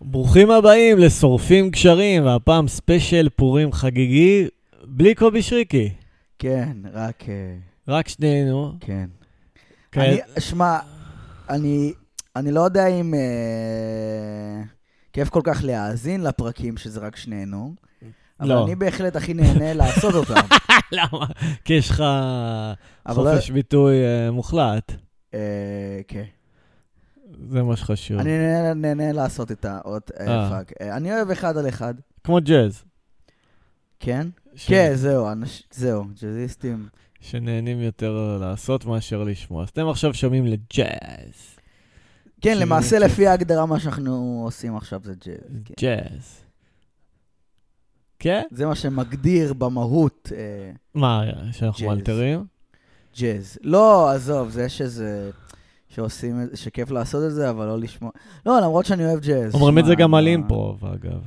ברוכים הבאים לשורפים קשרים, והפעם ספיישל פורים חגיגי, בלי קובי שריקי. כן, רק... אה, רק שנינו. כן. כן. אני, כעת- שמע, אני, אני לא יודע אם אה, כיף כל כך להאזין לפרקים שזה רק שנינו, אבל לא. אני בהחלט הכי נהנה לעשות אותם. למה? כי יש לך אבל לא- חופש ביטוי אה, מוחלט. אה, כן. זה מה שחשוב. אני נהנה, נהנה לעשות את האות אה. אה, פאק. אה, אני אוהב אחד על אחד, כמו ג'אז. כן? ש- כן, זהו, אנש... זהו, ג'אזיסטים. שנהנים יותר לעשות מאשר לשמוע. אז אתם עכשיו שומעים לג'אז. כן, ש- למעשה ש- לפי ההגדרה מה שאנחנו עושים עכשיו זה ג'אז. כן. ג'אז. כן? זה מה שמגדיר במהות אה, מה, שאנחנו ג'אז. מאלתרים? ג'אז. לא, עזוב, זה שזה... שעושים, את- שכיף לעשות את זה, אבל לא לשמוע. לא, למרות שאני אוהב ג'אז. אומרים את שמע, זה גם מה- על אימפרוב, אגב.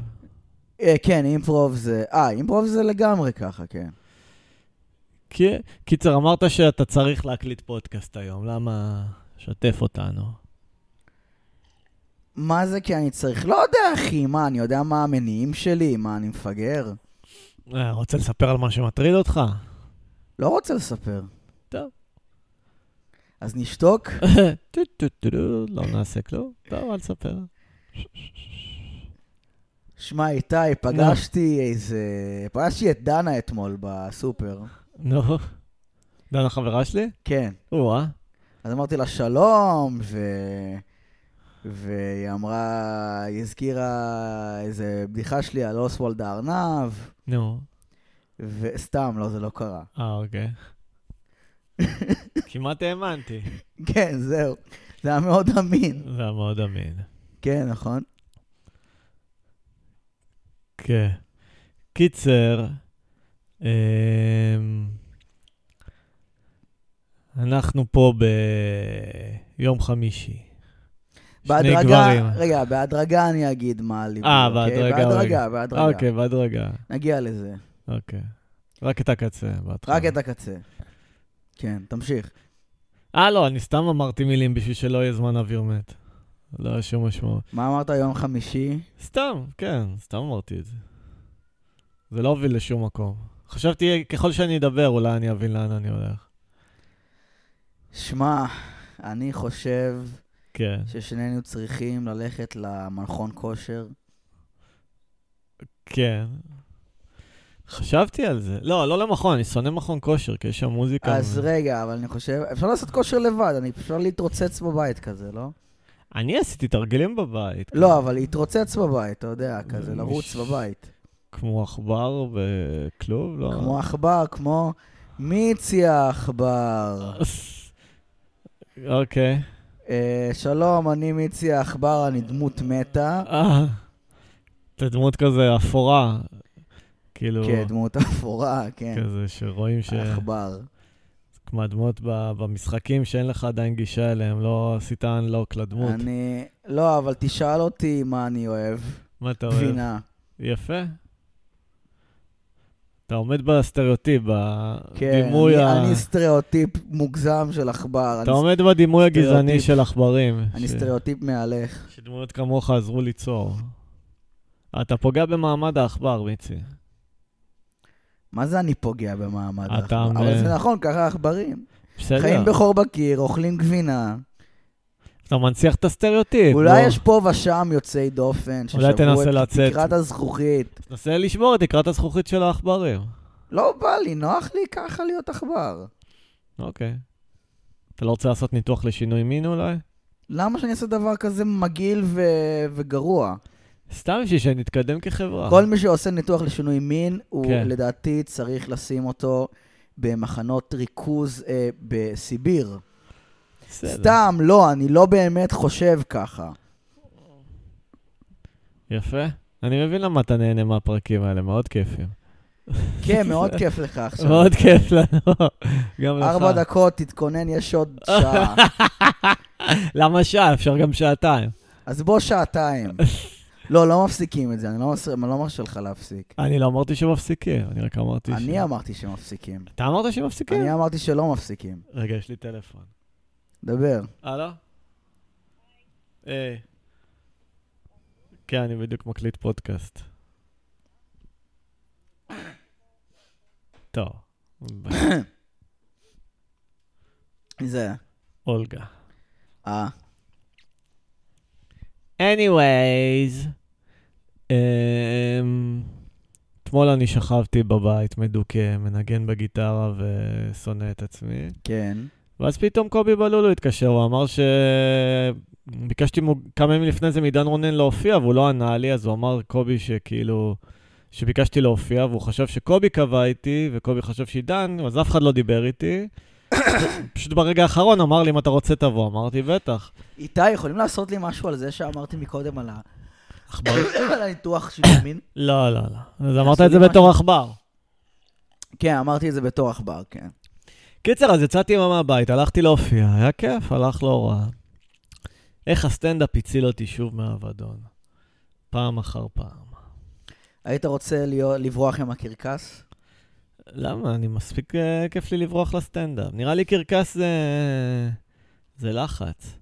אה, כן, אימפרוב זה... אה, אימפרוב זה לגמרי ככה, כן. כי- קיצר, אמרת שאתה צריך להקליט פודקאסט היום, למה... שתף אותנו. מה זה כי אני צריך? לא יודע, אחי, מה, אני יודע מה המניעים שלי? מה, אני מפגר? אה, רוצה לספר על מה שמטריד אותך? לא רוצה לספר. טוב. אז נשתוק? טו, טו, טו, טו, לא נעשה כלום, טוב, אל תספר. שמע, איתי, פגשתי איזה... פגשתי את דנה אתמול בסופר. נו, דנה חברה שלי? כן. או-אה. אז אמרתי לה שלום, ו... והיא אמרה, היא הזכירה איזה בדיחה שלי על אוסוולד הארנב, נו, וסתם, לא, זה לא קרה. אה, אוקיי. כמעט האמנתי. כן, זהו. זה היה מאוד אמין. זה היה מאוד אמין. כן, נכון? כן. קיצר, אמ, אנחנו פה ביום חמישי. שני גברים. רגע, בהדרגה אני אגיד מה לי. אה, בהדרגה, בהדרגה, רגע. בהדרגה. אוקיי, בהדרגה. נגיע לזה. אוקיי. רק את הקצה בהתחלה. רק את הקצה. כן, תמשיך. אה, לא, אני סתם אמרתי מילים בשביל שלא יהיה זמן אוויר מת. לא היה שום משמעות. מה אמרת יום חמישי? סתם, כן, סתם אמרתי את זה. זה לא הוביל לשום מקום. חשבתי, ככל שאני אדבר, אולי אני אבין לאן אני הולך. שמע, אני חושב כן. ששנינו צריכים ללכת למכון כושר. כן. חשבתי על זה. לא, לא למכון, אני שונא מכון כושר, כי יש שם מוזיקה. אז רגע, אבל אני חושב, אפשר לעשות כושר לבד, אני אפשר להתרוצץ בבית כזה, לא? אני עשיתי תרגילים בבית. לא, אבל להתרוצץ בבית, אתה יודע, כזה, מש- לרוץ בבית. כמו עכבר בכלוב, לא? כמו עכבר, כמו מיצי העכבר. אוקיי. אה, שלום, אני מיצי העכבר, אני דמות מתה. אה, אתה דמות כזה אפורה. כאילו, כן, דמות אפורה, כן. אה, כזה שרואים ש... עכבר. כמו הדמות ב- במשחקים שאין לך עדיין גישה אליהם, לא עשית unlock לדמות. אני... לא, אבל תשאל אותי מה אני אוהב. מה אתה אוהב? גבינה. יפה. אתה עומד בסטריאוטיפ, כן, בדימוי אני- ה... אני סטריאוטיפ מוגזם של עכבר. אתה אני- עומד בדימוי הגזעני סטריאוטיפ. של עכברים. אני ש- סטריאוטיפ מהלך. שדמויות כמוך עזרו ליצור. אתה פוגע במעמד העכבר, מיצי. מה זה אני פוגע במעמד אתה העכבר? מ- אבל זה נכון, ככה עכברים. חיים בסדר. בחור בקיר, אוכלים גבינה. אתה מנציח את הסטריאוטיפ. אולי כן, בוא. יש פה ושם יוצאי דופן, אולי תנסה ששברו את לצאת. תקרת הזכוכית. תנסה לשבור את תקרת הזכוכית של העכברים. לא בא לי, נוח לי ככה להיות עכבר. אוקיי. אתה לא רוצה לעשות ניתוח לשינוי מין אולי? למה שאני אעשה דבר כזה מגעיל ו- וגרוע? סתם בשביל שנתקדם כחברה. כל מי שעושה ניתוח לשינוי מין, הוא אה. כן. לדעתי צריך לשים אותו במחנות ריכוז אה, בסיביר. בסדר. סתם, לא, אני לא באמת חושב ככה. יפה. אני מבין למה אתה נהנה מהפרקים האלה, מאוד כיפים. כן, מאוד כיף לך עכשיו. מאוד כיף לנו. גם לך. ארבע דקות, תתכונן, יש עוד שעה. למה שעה? אפשר גם שעתיים. אז בוא שעתיים. לא, לא מפסיקים את זה, אני לא מס- אני לא מרשה לך להפסיק. אני לא אמרתי שמפסיקים, אני רק אמרתי ש... אני אמרתי שמפסיקים. אתה אמרת שמפסיקים? אני אמרתי שלא מפסיקים. רגע, יש לי טלפון. דבר. הלו? היי. אה. כן, אני בדיוק מקליט פודקאסט. טוב, ב- זה. אולגה. אה. anyways, אמ, אתמול אני שכבתי בבית מדוכא, מנגן בגיטרה ושונא את עצמי. כן. ואז פתאום קובי בלולו התקשר, הוא אמר ש... ביקשתי מו... כמה ימים לפני זה מעידן רונן להופיע, והוא לא ענה לי, אז הוא אמר קובי שכאילו... שביקשתי להופיע, והוא חשב שקובי קבע איתי, וקובי חשב שעידן, אז אף אחד לא דיבר איתי. פשוט ברגע האחרון אמר לי, אם אתה רוצה תבוא. אמרתי, בטח. איתי, יכולים לעשות לי משהו על זה שאמרתי מקודם על ה- עכבר... על הניתוח של ימין? לא, לא, לא. אז אמרת עשו את זה לי בתור עכבר. כן, אמרתי את זה בתור עכבר, כן. קיצר, אז יצאתי יממה מהבית, הלכתי להופיע, היה כיף, הלך לא רע. איך הסטנדאפ הציל אותי שוב מהאבדון. פעם אחר פעם. היית רוצה להיות- לברוח עם הקרקס? למה? אני מספיק אה, כיף לי לברוח לסטנדאפ. נראה לי קרקס זה... זה לחץ.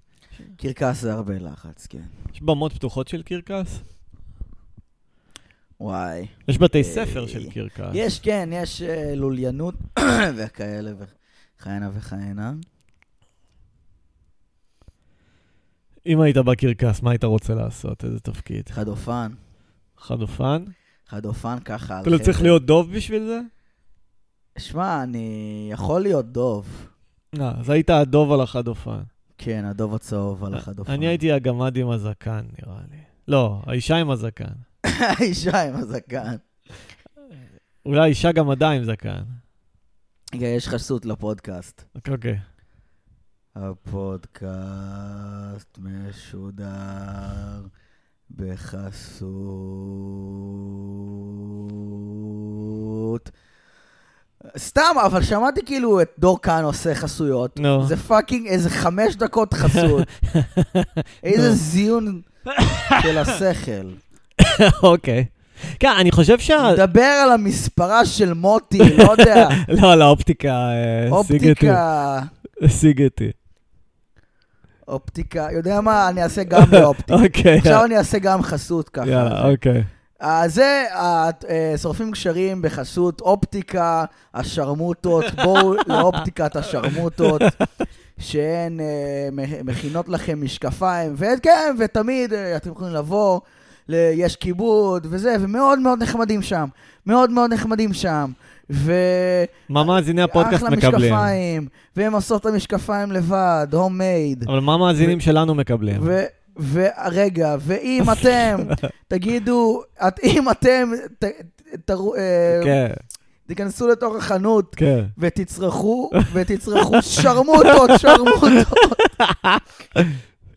קרקס זה הרבה לחץ, כן. יש במות פתוחות של קרקס? וואי. יש בתי אה, ספר של קרקס. יש, כן, יש אה, לוליינות וכאלה וכהנה וכהנה. אם היית בקרקס, מה היית רוצה לעשות? איזה תפקיד? חדופן. חדופן? חדופן ככה. על אתה לא צריך חבל. להיות דוב בשביל זה? שמע, אני יכול להיות דוב. לא, אז היית הדוב על החדופן. כן, הדוב הצהוב על החדופן. אה, אני הייתי הגמד עם הזקן, נראה לי. לא, האישה עם הזקן. האישה עם הזקן. אולי האישה גמדה עם זקן. רגע, יש חסות לפודקאסט. אוקיי. הפודקאסט משודר בחסות. סתם, אבל שמעתי כאילו את דור כאן עושה חסויות. נו. זה פאקינג איזה חמש דקות חסות. איזה זיון של השכל. אוקיי. כן, אני חושב שה... דבר על המספרה של מוטי, לא יודע, לא, לא, האופטיקה אה, השיג אותי. אופטיקה, השיג אותי. אופטיקה, יודע מה, אני אעשה גם באופטיקה. אוקיי. עכשיו אני אעשה גם חסות ככה. יאללה, אוקיי. אה, זה, אה, אה, שורפים קשרים בחסות אופטיקה, השרמוטות, בואו לאופטיקת השרמוטות, שהן אה, מ- מכינות לכם משקפיים, וכן, ותמיד אה, אתם יכולים לבוא, ל- יש כיבוד וזה, ומאוד מאוד נחמדים שם, מאוד מאוד נחמדים שם, ו... מה מאזיני הפודקאסט אחלה מקבלים? משקפיים, והם עושות את המשקפיים לבד, הומייד. אבל מה המאזינים שלנו מקבלים? ו- ורגע, ואם אתם, תגידו, את, אם אתם ת, ת, תרו- אה, כן, תיכנסו לתוך החנות כן. ותצרכו, ותצרכו שרמוטות, שרמוטות,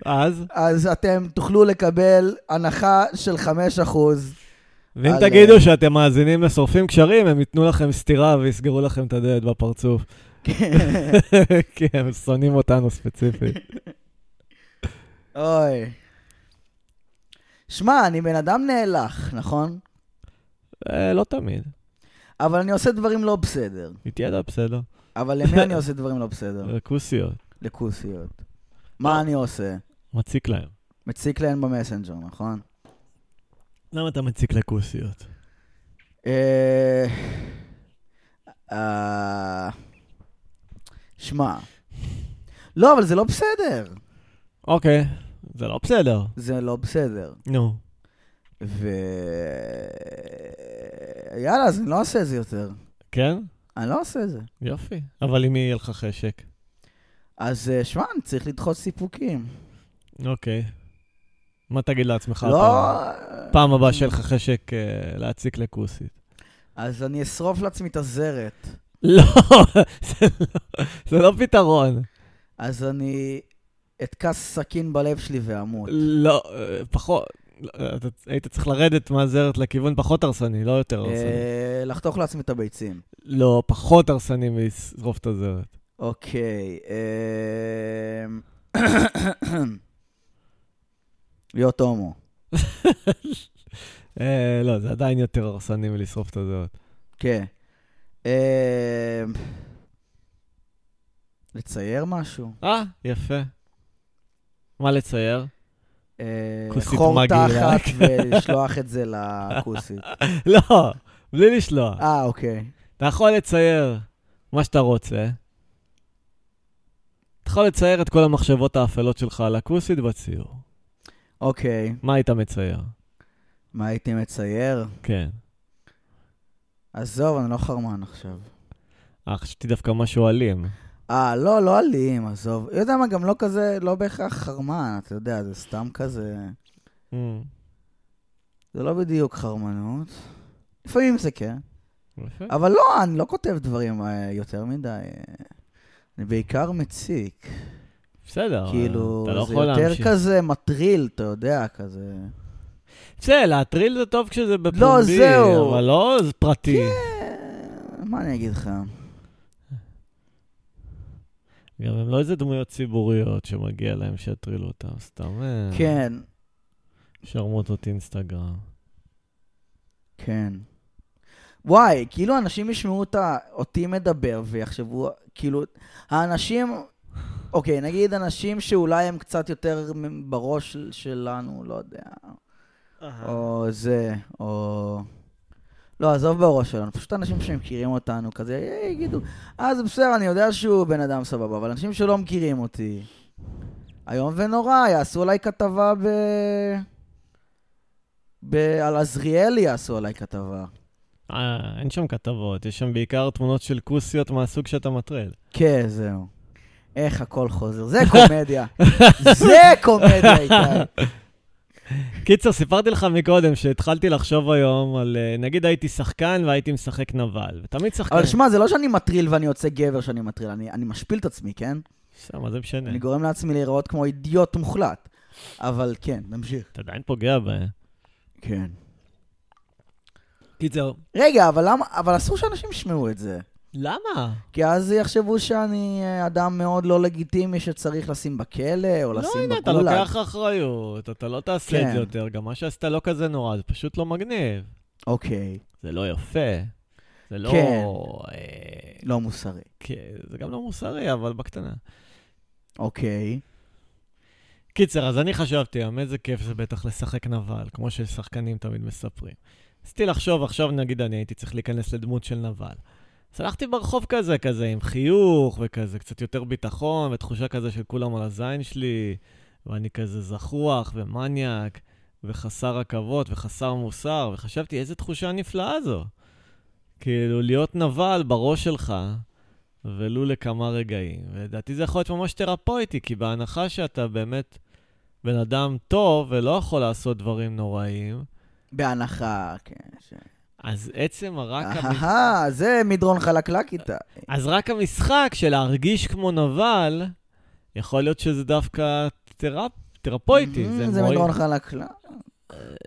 אז? אז אתם תוכלו לקבל הנחה של 5%. ואם על, תגידו אה, שאתם מאזינים לשורפים קשרים, הם ייתנו לכם סטירה ויסגרו לכם את הדלת בפרצוף. כן. כי הם שונאים אותנו ספציפית. אוי. שמע, אני בן אדם נאלח, נכון? אה, לא תמיד. אבל אני עושה דברים לא בסדר. איתי ידע בסדר. אבל למי אני עושה דברים לא בסדר? כוסיות. לכוסיות. מה אני עושה? מציק להם. מציק להן במסנג'ר, נכון? למה אתה מציק לכוסיות? אה, אה, שמע, לא, אבל זה לא בסדר. אוקיי, זה לא בסדר. זה לא בסדר. נו. ו... יאללה, אז אני לא עושה את זה יותר. כן? אני לא עושה את זה. יופי. אבל אם יהיה לך חשק. אז אה, שמע, אני צריך לדחות סיפוקים. אוקיי. מה תגיד לעצמך? לא... הפעם? פעם הבאה שיהיה לך חשק אה, להציק לכוסית. אז אני אשרוף לעצמי את הזרת. לא, זה לא- זה לא פתרון. אז אני אתקע סכין בלב שלי ואמות. לא, אה, פחות. לא, אתה היית צריך לרדת מהזרת לכיוון פחות הרסני, לא יותר הרסני. אה, לחתוך לעצמי את הביצים. לא, פחות הרסני מלשרוף את הזרת. אוקיי, אמ, להיות הומו. אה, לא, זה עדיין יותר הרסני מלשרוף את הזרת. כן. אמ, לצייר משהו? אה, יפה. מה לצייר? אמ, אה, כוסית חור מגעילה. תחת ולשלוח את זה לכוסית. לא, בלי לשלוח. אה, אוקיי. אתה יכול לצייר מה שאתה רוצה. אתה יכול לצייר את כל המחשבות האפלות שלך על הכוסית בציור. אוקיי. מה היית מצייר? מה הייתי מצייר? כן. עזוב, אני לא חרמן עכשיו. אה, חשבתי דווקא משהו אלים. אה, לא, לא אלים, עזוב. יודע מה, גם לא כזה, לא בהכרח חרמן, אתה יודע, זה סתם כזה... Mm. זה לא בדיוק חרמנות. לפעמים זה כן. יפה. אבל לא, אני לא כותב דברים אה, יותר מדי. אה, אני בעיקר מציק. בסדר, כאילו, אתה לא זה יכול יותר להמשיך. כזה מטריל, אתה יודע, כזה. בסדר, להטריל זה טוב כשזה בפומבי. לא, זהו. כן. אבל לא זה פרטי. אה, מה אני אגיד לך? גם הם לא איזה דמויות ציבוריות שמגיע להם שיטרילו אותם, סתם אה, כן, שרמוטות אינסטגרם. כן. וואי, כאילו אנשים ישמעו את ה- אותי מדבר ויחשבו, כאילו, האנשים, אוקיי, נגיד אנשים שאולי הם קצת יותר מ- בראש של- שלנו, לא יודע, או זה, או... לא, עזוב בראש שלנו, פשוט אנשים שמכירים אותנו כזה, אה, יגידו, אה, זה בסדר, אני יודע שהוא בן אדם סבבה, אבל אנשים שלא מכירים אותי, איום ונורא, יעשו עליי כתבה ב... ב... על עזריאלי יעשו עליי כתבה. אה, אין שם כתבות, יש שם בעיקר תמונות של כוסיות מהסוג שאתה מטריל. כן, זהו. איך הכל חוזר. זה קומדיה. זה קומדיה, איתי. כן. קיצר, סיפרתי לך מקודם שהתחלתי לחשוב היום על, אה, נגיד הייתי שחקן והייתי משחק נבל, ותמיד שחקן... אבל שמע, זה לא שאני מטריל ואני יוצא גבר שאני מטריל, אני, אני משפיל את עצמי, כן? בסדר, מה זה משנה? אני גורם לעצמי להיראות כמו אידיוט מוחלט. אבל כן, נמשיך. אתה עדיין פוגע בהם. כן. קיצר, רגע, אבל למה, אבל אסור שאנשים ישמעו את זה. למה? כי אז יחשבו שאני אה, אדם מאוד לא לגיטימי שצריך לשים בכלא, או לא, לשים הנה, בגולאג. אתה לוקח אחריות, אתה לא תעשה את כן. זה יותר, גם מה שעשית לא כזה נורא, זה פשוט לא מגניב. אוקיי, זה לא יפה, זה לא... כן. אה, לא מוסרי. כן, זה גם לא מוסרי, אבל בקטנה. אוקיי. קיצר, אז אני חשבתי, "אמ, איזה כיף זה בטח לשחק נבל, כמו ששחקנים תמיד מספרים. ניסיתי לחשוב, עכשיו נגיד אני הייתי צריך להיכנס לדמות של נבל. אז הלכתי ברחוב כזה, כזה עם חיוך וכזה, קצת יותר ביטחון, ותחושה כזה של כולם על הזין שלי, ואני כזה זחוח ומניאק, וחסר עכבות וחסר מוסר, וחשבתי, איזה תחושה נפלאה זו. כאילו, להיות נבל בראש שלך, ולו לכמה רגעים. ולדעתי זה יכול להיות ממש תרפויטי, כי בהנחה שאתה באמת בן אדם טוב ולא יכול לעשות דברים נוראים, בהנחה, כן. ש- אז עצם הרק... המ... אהה, זה מדרון חלקלק איתה. אז רק המשחק של להרגיש כמו נבל, יכול להיות שזה דווקא תרפ... תרפויטי. Mm, זה מוריד- מדרון חלקלק.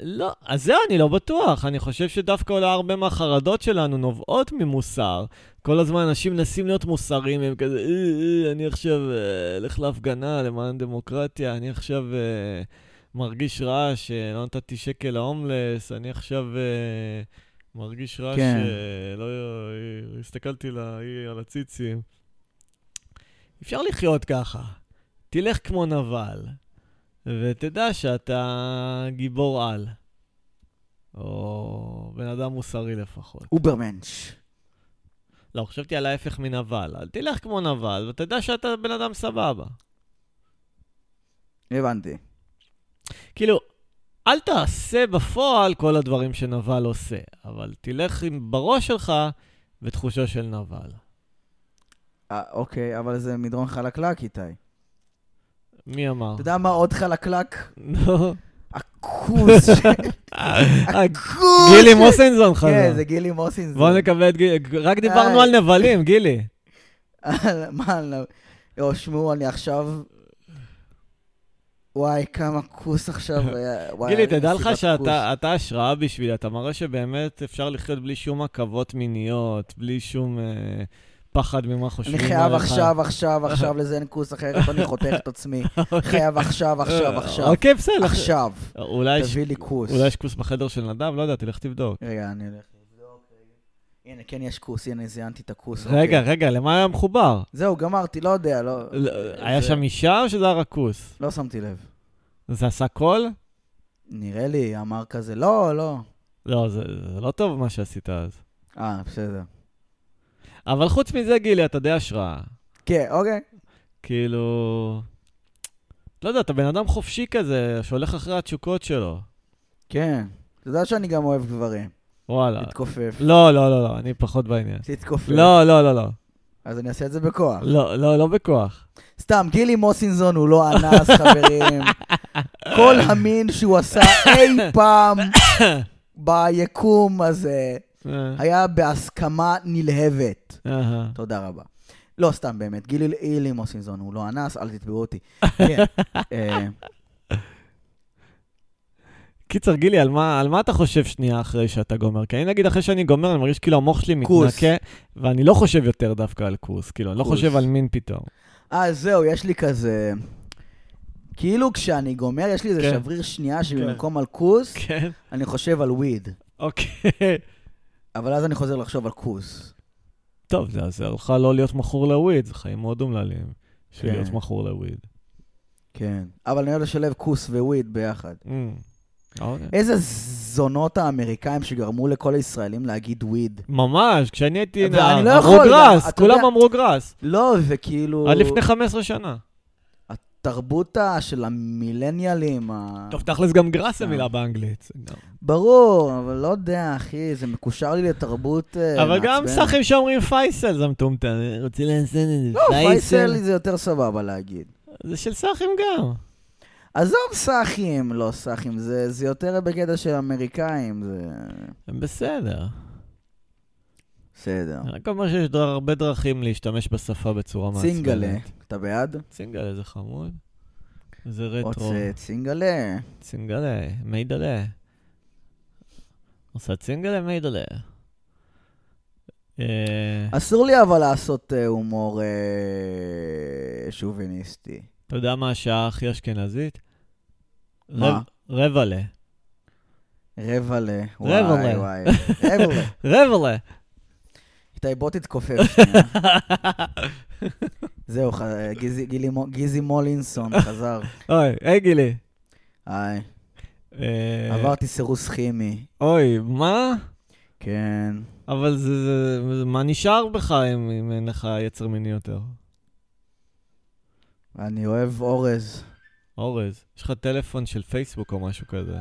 לא, אז זהו, אני לא בטוח. אני חושב שדווקא אולי הרבה מהחרדות שלנו נובעות ממוסר. כל הזמן אנשים מנסים להיות מוסריים, הם כזה, "אה, אה, אני עכשיו אה, אלך להפגנה למען דמוקרטיה, אני עכשיו אה, מרגיש רע שלא נתתי שקל להומלס, אני עכשיו אה, מרגיש רע כן. שלא אה, הסתכלתי לה, היא על הציצים. אפשר לחיות ככה. תלך כמו נבל, ותדע שאתה גיבור על. או בן אדם מוסרי לפחות. אוברמנץ'. לא, חשבתי על ההפך מנבל. אל תלך כמו נבל, ותדע שאתה בן אדם סבבה. הבנתי. כאילו, אל תעשה בפועל כל הדברים שנבל עושה, אבל תלך עם בראש שלך בתחושה של נבל. אה, אוקיי, אבל זה מדרון חלקלק, איתי. אתה מי אמר? יודע מה עוד חלקלק? נו. הכוס. אה, הכוס. גילי מוסנזון כן, חזר. זה גילי מוסין. בואו נקבל את גילי. רק דיברנו אה. על נבלים, גילי. מה, לא. יו, שמעו, אני עכשיו... וואי, כמה כוס עכשיו היה. וואי, גילי, היה לי תדע לך מסיבת שאתה אתה השראה בשבילי, אתה מראה שבאמת אפשר לחיות בלי שום עכבות מיניות, בלי שום אה, פחד ממה כוס. חושבים אני עליך. חייב עכשיו, עכשיו, עכשיו לזיין כוס אחרת, אני חותך את עצמי. חייב עכשיו, עכשיו, עכשיו. אוקיי, בסדר. עכשיו. אולי יש- תביא לי כוס. אולי יש כוס בחדר של נדב? לא יודע, תלך תבדוק. רגע, אני הולך לבדוק. רגע. הנה, כן יש כוס, הנה, זיינתי את הכוס. רגע, אוקיי. רגע, למה היה מחובר? זהו, גמרתי, לא יודע, לא... לא, היה זה- שם אישה או שזה היה רק כוס? לא שמתי לב. זה עשה קול? נראה לי, אמר כזה, לא, לא. לא, זה, זה לא טוב מה שעשית אז. אה, בסדר. אבל חוץ מזה, גילי, אתה די השראה. כן, אוקיי. כאילו... לא יודע, אתה בן אדם חופשי כזה, שהולך אחרי התשוקות שלו. כן. אתה יודע שאני גם אוהב גברים. וואלה. תתכופף. לא, לא, לא, לא, אני פחות בעניין. תתכופף. לא, לא, לא, לא. אז אני אעשה את זה בכוח. לא, לא, לא בכוח. סתם, גילי מוסינזון הוא לא אנס, חברים. כל המין שהוא עשה אי פעם ביקום הזה אה, היה בהסכמה נלהבת. אהה. תודה רבה. לא, סתם, באמת. גילי גילי מוסינזון הוא לא אנס, אל תתבעו אותי. כן. אה, קיצר, גילי, על מה, על מה אתה חושב שנייה אחרי שאתה גומר? כי אני נגיד, אחרי שאני גומר, אני מרגיש כאילו המוח שלי כוס. מתנקה, ואני לא חושב יותר דווקא על כוס, כאילו, אני לא כוס. חושב על מין פתאום. אה, זהו, יש לי כזה... כאילו כשאני גומר, יש לי איזה כן. שבריר שנייה שבמקום על כוס, כן. אני חושב על וויד. אוקיי. אבל אז אני חוזר לחשוב על כוס. טוב, זה עוזר לך לא להיות מכור לוויד, זה חיים מאוד אומללים, של כן. להיות מכור לוויד. כן. אבל אני אוהב לשלב כוס וויד ביחד. Mm. אוקיי. איזה זונות האמריקאים שגרמו לכל הישראלים להגיד וויד. ממש, כשאני הייתי אבל אני נער, לא אמרו יכול, גראס, אתה יודע- כולם אמרו גראס. לא, וכאילו... עד אה, לפני 15 שנה. התרבות ה- של המילניאלים, ה- טוב, תכלס גם גראס זה אה. מילה באנגלית. ברור, אבל לא יודע, אחי, זה מקושר לי לתרבות אה, אבל גם מעצבנת. סאחים שאומרים פייסל זה מטומטם, אני רוצה לעשות את זה. לא, פייסל זה יותר סבבה להגיד. זה של סאחים גם. עזוב סאחים, לא סאחים, זה, זה יותר בקטע של אמריקאים, זה... הם אה. בסדר. בסדר. אני רק אומר שיש דר- הרבה דרכים להשתמש בשפה בצורה לא מעצבנת. צינגלה, אתה בעד? צינגלה זה חמוד. זה רטרו. רוצה צינגלה. צינגלה, מיידלה. עושה צינגלה, מיידלה. אה, אסור לי אבל לעשות אה, הומור אה, שוביניסטי. אתה יודע מה השעה הכי אשכנזית? מה? רב- רבלה. רבע ל... רבע וואי ל. וואי. רבע ל. רבלה. איתי, בוא תתכופף שנייה. זהו, ח- גיזי- גילי מו- גיזי מולינסון חזר. אוי, היי גילי. היי, אה, עברתי סירוס כימי. אוי, מה? כן. אבל זה, זה, זה- מה נשאר בך אם, אם אין לך יצר מיני יותר? אני אוהב אורז. אורז, יש לך טלפון של פייסבוק או משהו כזה.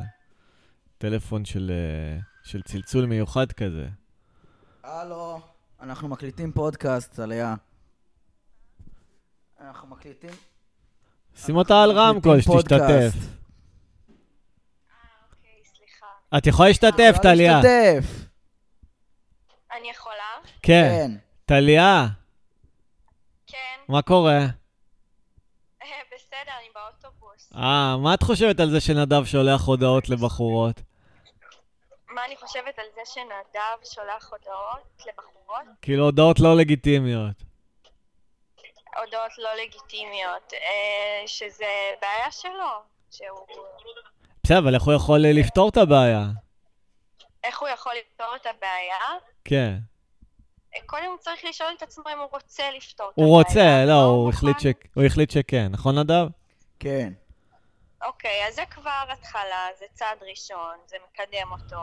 טלפון של, אה, של צלצול מיוחד כזה. הלו, אנחנו מקליטים פודקאסט, עליה. אנחנו מקליטים... שים אותה על אנחנו רמקול, מקליטים שתשתתף. פודקאסט. אוקיי, סליחה. את יכולה להשתתף, לא טליה. להשתתף. אני יכולה? כן. כן. טליה, כן. מה קורה? אה, בסדר, אני באוטובוס. אה, מה את חושבת על זה שנדב שולח הודעות לבחורות? מה אני חושבת על זה שנדב שולח הודעות לבחורות? כאילו, הודעות לא לגיטימיות. הודעות לא לגיטימיות. אה, שזה בעיה שלו. שהוא... בסדר, אבל איך הוא יכול אה, לפתור את הבעיה? איך הוא יכול לפתור את הבעיה? כן. אה, קודם הוא צריך לשאול את עצמו אם הוא רוצה לפתור את הבעיה. הוא רוצה, לא, הוא מוכן. החליט ש- הוא החליט שכן. נכון, נדב? כן. אוקיי, אז זה כבר התחלה, זה צעד ראשון, זה מקדם אותו.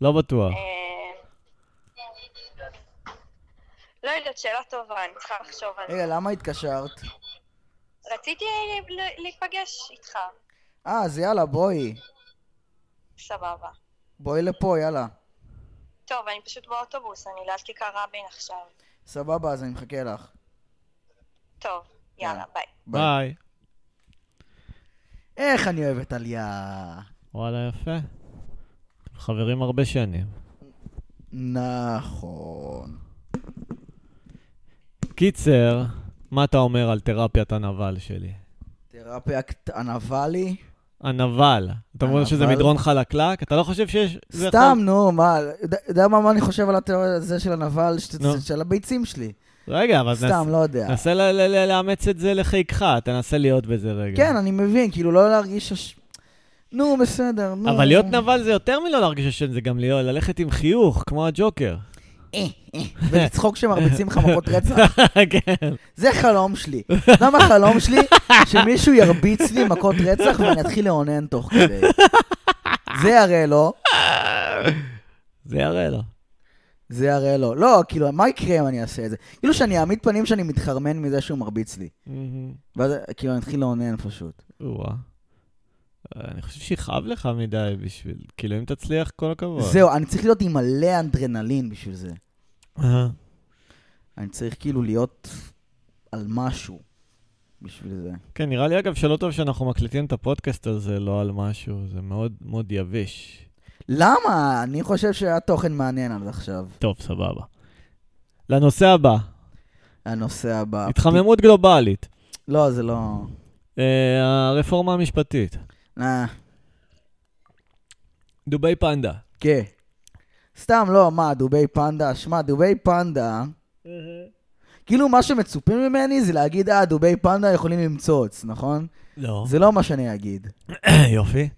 לא בטוח. אה, לא יודעת, שאלה טובה, אני צריכה לחשוב על זה. רגע, למה התקשרת? רציתי אה, ל- להיפגש איתך, אה, אז יאללה, בואי. סבבה. בואי לפה, יאללה. טוב, אני פשוט באוטובוס, אני לאלטיקה רבין עכשיו. סבבה, אז אני מחכה לך. טוב, יאללה, ביי. ביי. איך אני אוהב את עליה. וואלה, יפה. אתם חברים הרבה שנים. נכון. קיצר, מה אתה אומר על תרפיית הנבל שלי? תרפיה קטנה ואלי. הנבל. אתה אומר שזה הנבל? מדרון חלקלק? אתה לא חושב שיש... זה סתם, נו, מה, יודע- יודע מה מה אני חושב על התיאוריה הזה של הנבל, ש- נו. של הביצים שלי? יכול- רגע, אבל סתם, נס- לא יודע. נסה ל- ל- ל- לאמץ את זה לחיקך, תנסה להיות בזה רגע. כן, אני מבין, כאילו, לא להרגיש... הש- נו, בסדר, נו. אה. אבל להיות נבל זה יותר מלא להרגיש אשם, זה גם להיות- ללכת עם חיוך, כמו הג'וקר. אה, אה, ולצחוק שמרביצים לך מכות רצח. כן. זה חלום שלי. אתה יודע מה החלום שלי? שמישהו ירביץ לי מכות רצח ואני אתחיל לאונן תוך כדי. זה הרי לא, זה יראה לו. זה הרי לא. לא, כאילו, מה יקרה אם אני אעשה את זה? כאילו שאני אעמיד פנים שאני מתחרמן מזה שהוא מרביץ לי. מהמם. ואז כאילו אני אתחיל לאונן פשוט. או-אה. אני חושב שיכאב לך מדי בשביל, כאילו אם תצליח, כל הכבוד. זהו, אני צריך להיות עם מלא אנדרנלין בשביל זה. אה. אני צריך כאילו להיות על משהו בשביל זה. כן, נראה לי אגב שלא טוב שאנחנו מקליטים את הפודקאסט הזה, לא על משהו, זה מאוד מאוד יבש. למה? אני חושב שהיה תוכן מעניין עד עכשיו. טוב, סבבה. לנושא הבא, הנושא אה, הבא. התחממות גלובלית. לא, זה לא... אה, הרפורמה המשפטית. אה, דובי פנדה. כן. סתם לא, מה, דובי פנדה? שמע, דובי פנדה... כאילו מה שמצופים ממני זה להגיד, אה, דובי פנדה יכולים למצוץ, נכון? לא. זה לא מה שאני אגיד. יופי.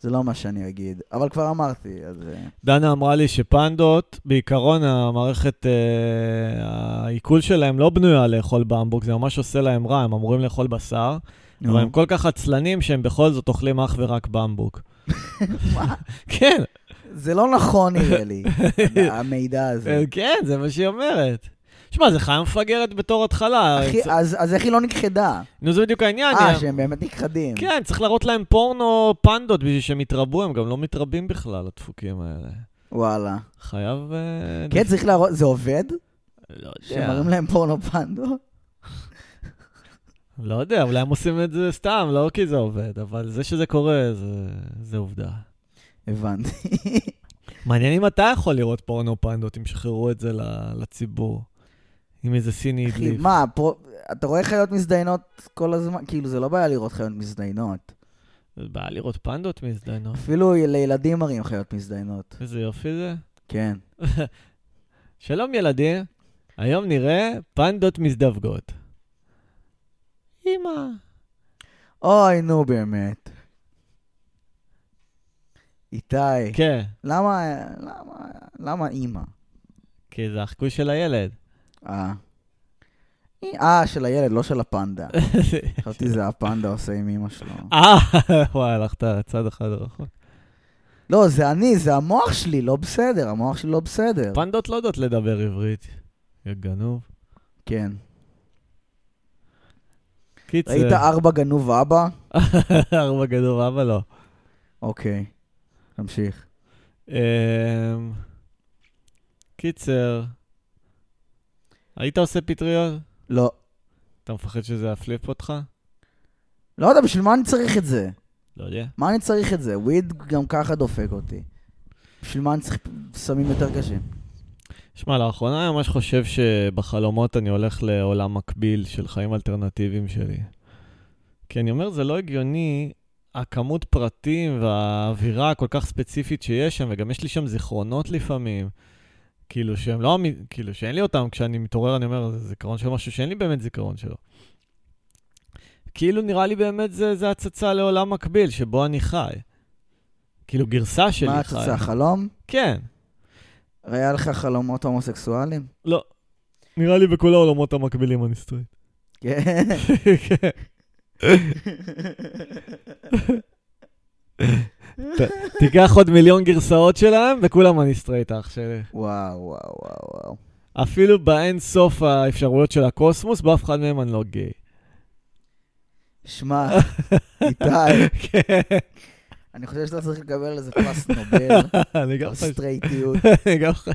זה לא מה שאני אגיד. אבל כבר אמרתי, אז... אה, דנה אמרה לי שפנדות, בעיקרון המערכת, אה, העיכול שלהם לא בנויה לאכול בהמבורג, זה ממש עושה להם רע, הם אמורים לאכול בשר, אבל הם כל כך עצלנים שהם בכל זאת אוכלים אך ורק בהמבורג. מה? כן, זה לא נכון נראה לי, המידע הזה. אה, כן, זה מה שהיא אומרת. שמע, זה חיה מפגרת בתור התחלה. אחי, צ- אז אז איך היא לא נכחדה? נו, זה בדיוק העניין. אה, אה, שהם באמת נכחדים. כן, צריך להראות להם פורנו פנדות בשביל שהם יתרבו, הם גם לא מתרבים בכלל, הדפוקים האלה. וואלה. חייב... אה, כן, צריך להראות, זה עובד? לא יודע. שמראים להם פורנו פנדו? לא יודע, אולי הם עושים את זה סתם, לא כי זה עובד, אבל זה שזה קורה, זה, זה עובדה. הבנתי. מעניין אם אתה יכול לראות פורנו פנדות, אם שחררו את זה ל- לציבור. עם איזה סיני אחי, הדליף. מה, פה- אתה רואה חיות מזדיינות כל הזמן? כאילו, זה לא בעיה לראות חיות מזדיינות. בא לראות פנדות מזדיינות. אפילו לילדים מראים חיות מזדיינות. איזה יופי זה. כן. שלום ילדים, היום נראה פנדות מזדווגות. אמא. אוי, נו באמת. איתי, כן, למה, למה, למה אימא? כי זה החיקוי של הילד. אה. אה, של הילד, לא של הפנדה. חשבתי זה הפנדה עושה עם אמא שלו. אה, וואי, הלכת צד אחד רחוק. לא, זה אני, זה המוח שלי, לא בסדר, המוח שלי לא בסדר. פנדות לא יודעות לדבר עברית. יא גנוב. כן. קיצר. ראית ארבע גנוב אבא? ארבע גנוב, אבא לא. אוקיי, תמשיך. אמ, קיצר, היית עושה פטריות? לא. אתה מפחד שזה יפליפ אותך? לא יודע, בשביל מה אני צריך את זה? לא יודע. מה אני צריך את זה? וויד גם ככה דופק אותי. בשביל מה אני צריך סמים יותר קשים? שמע, לאחרונה אני ממש חושב שבחלומות אני הולך לעולם מקביל של חיים אלטרנטיביים שלי. כי אני אומר, זה לא הגיוני, הכמות פרטים והאווירה הכל כך ספציפית שיש שם, וגם יש לי שם זיכרונות לפעמים, כאילו שהם לא אמי... כאילו שאין לי אותם, כשאני מתעורר אני אומר, זה זיכרון של משהו שאין לי באמת זיכרון שלו. כאילו נראה לי באמת זה, זה הצצה לעולם מקביל שבו אני חי. כאילו גרסה שלי חי. מה אתה צריך, חלום? כן. היה לך חלומות הומוסקסואלים? לא. נראה לי בכל העולמות המקבילים אני סטרייט. כן. כן. ת- תיקח עוד מיליון גרסאות שלהם, וכולם אני סטרייט אח שלי. וואו, וואו, וואו, וואו. אפילו באין סוף האפשרויות של הקוסמוס, באף אחד מהם אני לא גיי. שמע, איתי, כן, אני חושב שאתה צריך לקבל איזה פרס נובל, אני גם על חושב. סטרייטיות. אני גם חושב.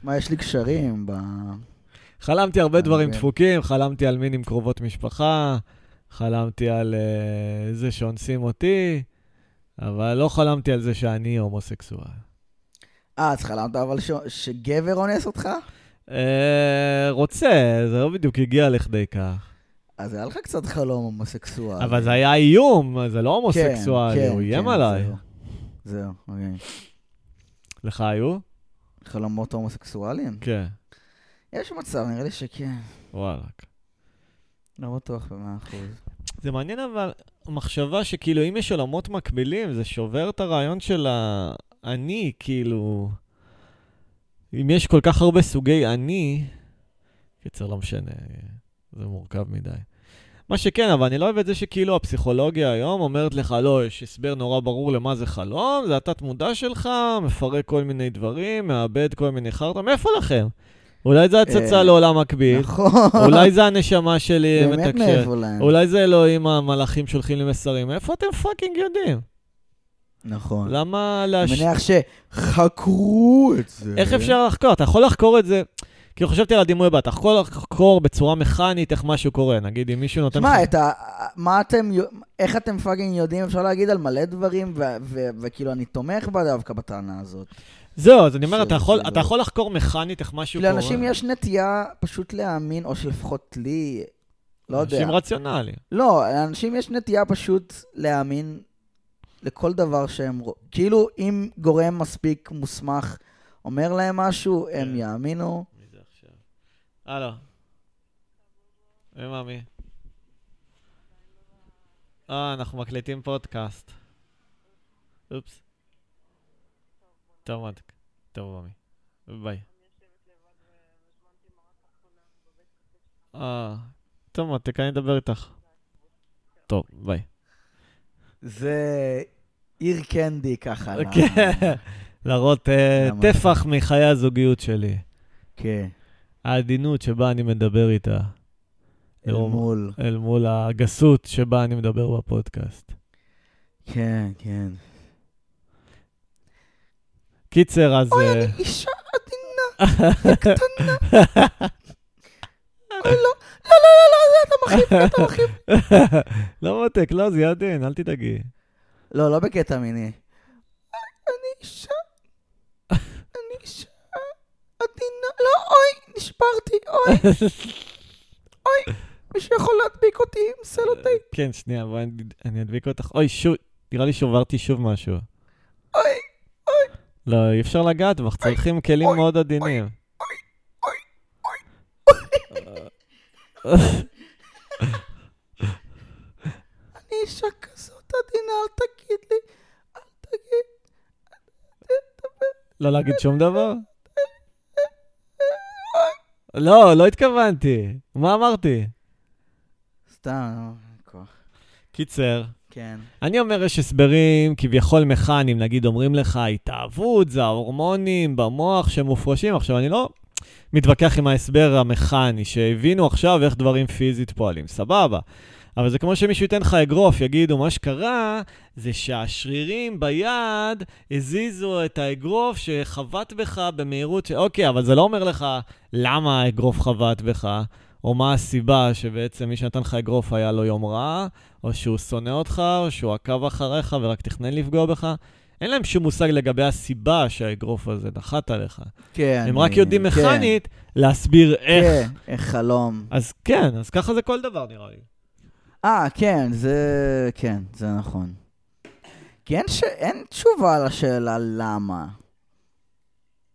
שמע, יש לי קשרים ב... חלמתי הרבה דברים כן. דפוקים, חלמתי על מין עם קרובות משפחה, חלמתי על אה, זה שאונסים אותי, אבל לא חלמתי על זה שאני הומוסקסואל. אה, אז חלמת אבל ש... שגבר אונס אותך? אה, רוצה, זה לא בדיוק הגיע לכדי כך. אז היה לך קצת חלום הומוסקסואל. אבל זה היה איום, זה לא אה, כן, הומוסקסואלי, כן, הוא איים כן, עליי. זהו. זהו, אוקיי. לך היו? חלומות הומוסקסואליים? כן, יש מצב, נראה לי שכן. וואלכ. לא בטוח במאה אחוז. זה מעניין אבל, המחשבה שכאילו אם יש עולמות מקבילים, זה שובר את הרעיון של האני, כאילו... אם יש כל כך הרבה סוגי אני, קיצר, לא משנה, זה מורכב מדי. מה שכן, אבל אני לא אוהב את זה שכאילו הפסיכולוגיה היום אומרת לך, לא, יש הסבר נורא ברור למה זה חלום, זה התת-מודע שלך, מפרק כל מיני דברים, מאבד כל מיני חרטא, מאיפה לכם? אולי זה הצצה אה, לעולם מקביל, נכון. אולי זה הנשמה שלי באמת מתקשרת, מאיפה להם. כן. אולי זה אלוהים, המלאכים שולחים לי מסרים, איפה אתם פאקינג יודעים? נכון. למה אני להש... מניח שחקרו את זה. איך אפשר לחקור? אתה יכול לחקור את זה, כאילו חשבתי על הדימוי הבא, אתה יכול לחקור בצורה מכנית איך משהו קורה, נגיד אם מישהו נותן תשמע, את ה... מה אתם... יו- איך אתם פאקינג יודעים, אפשר להגיד על מלא דברים, ו- ו- וכאילו, אני תומך בה דווקא בטענה הזאת. זהו, אז אני אומר, ש- אתה יכול- כאילו- אתה יכול לחקור מכנית איך משהו כאילו, קורה. לאנשים יש נטייה פשוט להאמין, או שלפחות לי, לא יודע. אנשים רציונליים. לא, לאנשים יש נטייה פשוט להאמין לכל דבר שהם... רוא- כאילו, אם גורם מספיק מוסמך אומר להם משהו, הם כן. יאמינו. מי זה עכשיו? הלו. אימא מי? אה, אנחנו מקליטים פודקאסט. אופס. טוב, מתק. טוב, ממי. ביי. אה, טוב, מתק, אני אדבר איתך. טוב, ביי. זה עיר קנדי ככה. ל- כן. להראות אה, למה? טפח מחיי הזוגיות שלי. כן. העדינות שבה אני מדבר איתה. אל לא, מול. אל מול הגסות שבה אני מדבר בפודקאסט. כן, כן. קיצר, אז... אוי, אה, אני אישה עדינה, קטנה. אוי, לא, לא, לא, לא, לא, זה אתה מחליף לי, אתה מחליף. לא מותק, לא, זה ידין, אל תדאגי. לא, לא בקטע מיני. אני אישה, אני אישה עדינה. לא, אוי, נשברתי, אוי, מישהו יכול להדביק אותי עם סלוטייפ. כן, שנייה, בואי, אני- אני אדביק אותך. אוי, שוב, נראה לי שברתי שוב משהו. אוי, לא, אי אפשר לגעת בך, צריכים כלים מאוד עדינים. אני אישה כזאת עדינה, אל תגיד לי, אל תגיד. לא להגיד שום דבר? לא, לא התכוונתי. מה אמרתי? סתם, אין כוח. קיצר, כן. אני אומר, יש הסברים כביכול מכניים, נגיד אומרים לך, התאהבות זה ההורמונים במוח שמופרשים. עכשיו, אני לא מתווכח עם ההסבר המכני, שהבינו עכשיו איך דברים פיזית פועלים, סבבה. אבל זה כמו שמישהו ייתן לך אגרוף, יגידו, מה שקרה זה שהשרירים ביד הזיזו את האגרוף שחבט בך במהירות ש... אוקיי, אבל זה לא אומר לך למה האגרוף חבט בך, או מה הסיבה שבעצם מי שנתן לך אגרוף היה לו יום רע, או שהוא שונא אותך, או שהוא עקב אחריך ורק תכנן לפגוע בך. אין להם שום מושג לגבי הסיבה שהאגרוף הזה נחת עליך. כן. הם רק יודעים כן, מכנית להסביר איך. כן, איך חלום. אז כן, אז ככה זה כל דבר נראה לי. אה, כן, זה... כן, זה נכון. כי אין, ש... אין תשובה לשאלה למה.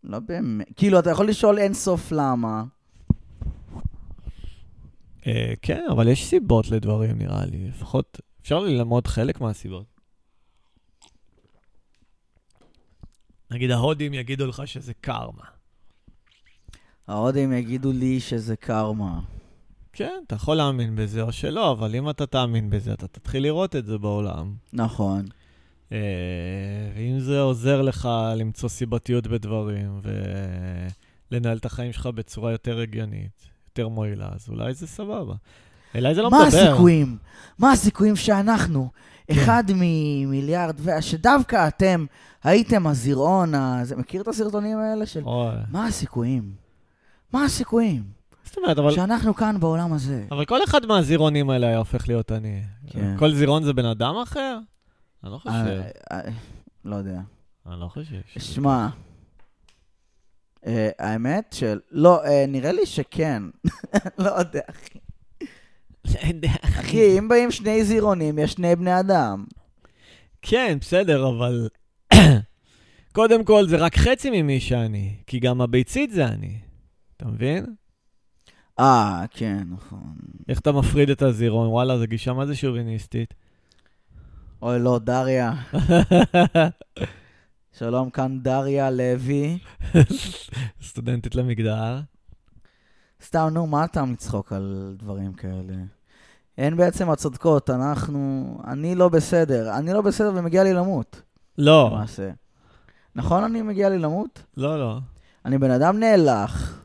לא באמת. כאילו, אתה יכול לשאול אין סוף למה. אה, כן, אבל יש סיבות לדברים נראה לי. לפחות אפשר ללמוד חלק מהסיבות. נגיד ההודים יגידו לך שזה קרמה. ההודים יגידו לי שזה קרמה. כן, אתה יכול להאמין בזה או שלא, אבל אם אתה תאמין בזה, אתה תתחיל לראות את זה בעולם. נכון. אה, ואם זה עוזר לך למצוא סיבתיות בדברים ולנהל את החיים שלך בצורה יותר הגיונית, יותר מועילה, אז אולי זה סבבה. אולי זה לא מה מדבר. כן. הסיכויים? מה הסיכויים שאנחנו, אחד ממיליארד, ו- שדווקא אתם הייתם הזירעון הזה... מכיר את הסרטונים האלה של... אוי. מה הסיכויים? מה הסיכויים? זאת אומרת, אבל... שאנחנו כאן בעולם הזה. אבל כל אחד מהזירונים האלה היה הופך להיות אני. כן. כל זירון זה בן אדם אחר? אני לא חושב. אה, אה, לא יודע. אני לא חושב. שמע, אה, האמת של... לא, אה, נראה לי שכן. לא יודע. אחי, אם באים שני זירונים, יש שני בני אדם. כן, בסדר, אבל... קודם כל, זה רק חצי ממי שאני, כי גם הביצית זה אני. אתה מבין? אה, כן, נכון. איך אתה מפריד את הזירון? וואלה, זו גישה מה זה שוביניסטית. אוי, לא, דריה. שלום, כאן דריה לוי. סטודנטית למגדר. סתם, נו, מה הטעם לצחוק על דברים כאלה? הן בעצם הצודקות, אנחנו... אני לא בסדר. אני לא בסדר ומגיע לי למות, לא, למעשה. נכון אני מגיע לי למות? לא, לא. אני בן אדם נאלח.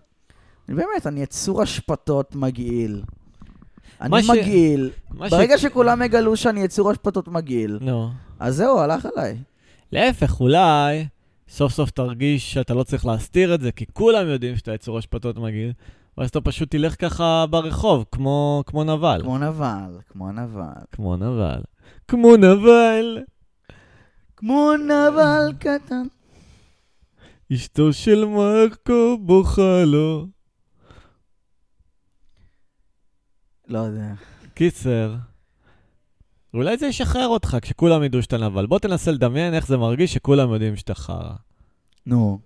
אני באמת, אני יצור אשפתות מגעיל. אני מה ש- מגעיל. מה ש- ברגע שכולם יגלו שאני יצור אשפתות מגעיל, נו. אז זהו, הלך עליי. להפך, אולי סוף סוף תרגיש שאתה לא צריך להסתיר את זה, כי כולם יודעים שאתה יצור אשפתות מגעיל, ואז אתה פשוט תלך ככה ברחוב, כמו, כמו נבל. כמו נבל, כמו נבל. כמו נבל. כמו נבל, כמו נבל קטן. אשתו של מרקו בוכה לו. לא יודע. קיצר, אולי זה ישחרר אותך כשכולם ידעו שאתה נבל. בוא תנסה לדמיין איך זה מרגיש שכולם יודעים שאתה חרא. נו,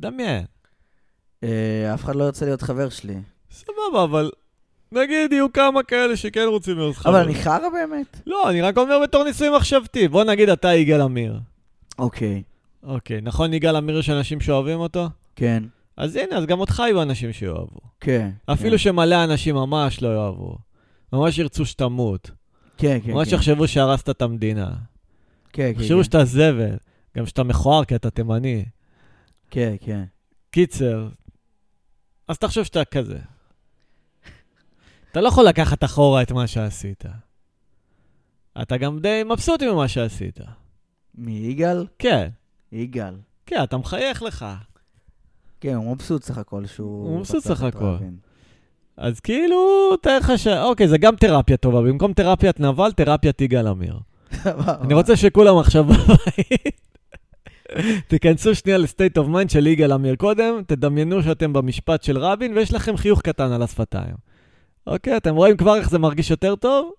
דמיין. אה, אף אחד לא ירצה להיות חבר שלי. סבבה, אבל נגיד יהיו כמה כאלה שכן רוצים להיות חרא. אבל אני חרא באמת? לא, אני רק אומר בתור ניסוי מחשבתי. בוא נגיד אתה יגאל עמיר. אוקיי, אוקיי, נכון יגאל עמיר יש אנשים שאוהבים אותו? כן, אז הנה, אז גם אותך יהיו אנשים שאוהבו. כן. אפילו שמלא אנשים ממש לא יאהבו. ממש ירצו שתמות. כן, כן, ממש כן, יחשבו שהרסת את המדינה. כן, כן, יחשבו כן. שאתה זבל. גם שאתה מכוער כי אתה תימני. כן, כן. קיצר, אז תחשוב שאתה כזה. אתה לא יכול לקחת אחורה את מה שעשית. אתה גם די מבסוט ממה שעשית. מי, יגאל? כן, יגאל. כן, אתה מחייך לך. כן, הוא מבסוט סך הכל שהוא... הוא מבסוט רצח סך את הכל. רבין. אז כאילו, תאר לך ש... אוקיי, זה גם תרפיה טובה. במקום תרפיית נבל, תרפיית יגאל עמיר. סבבה. אני רוצה שכולם עכשיו בבית. תיכנסו שנייה לסטייט אוף מיינד של יגאל עמיר קודם, תדמיינו שאתם במשפט של רבין ויש לכם חיוך קטן על השפתיים. אוקיי, אתם רואים כבר איך זה מרגיש יותר טוב?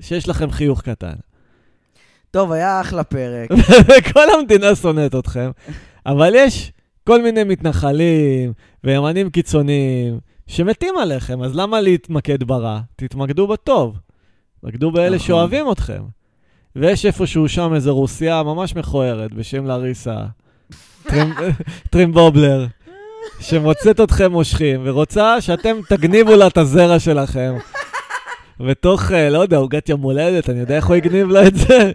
שיש לכם חיוך קטן. טוב, היה אחלה פרק. וכל המדינה שונאת אתכם, אבל יש כל מיני מתנחלים וימנים קיצוניים שמתים עליכם, אז למה להתמקד ברע? תתמקדו בטוב. תתמקדו באלה נכון. שאוהבים אתכם. ויש איפשהו שם איזו רוסיה ממש מכוערת בשם לריסה טרים- טרימבובלר, שמוצאת אתכם מושכים ורוצה שאתם תגניבו לה את הזרע שלכם. ותוך, אה, לא יודע, עוגת יום הולדת, אני יודע איך הוא הגניב לה את זה.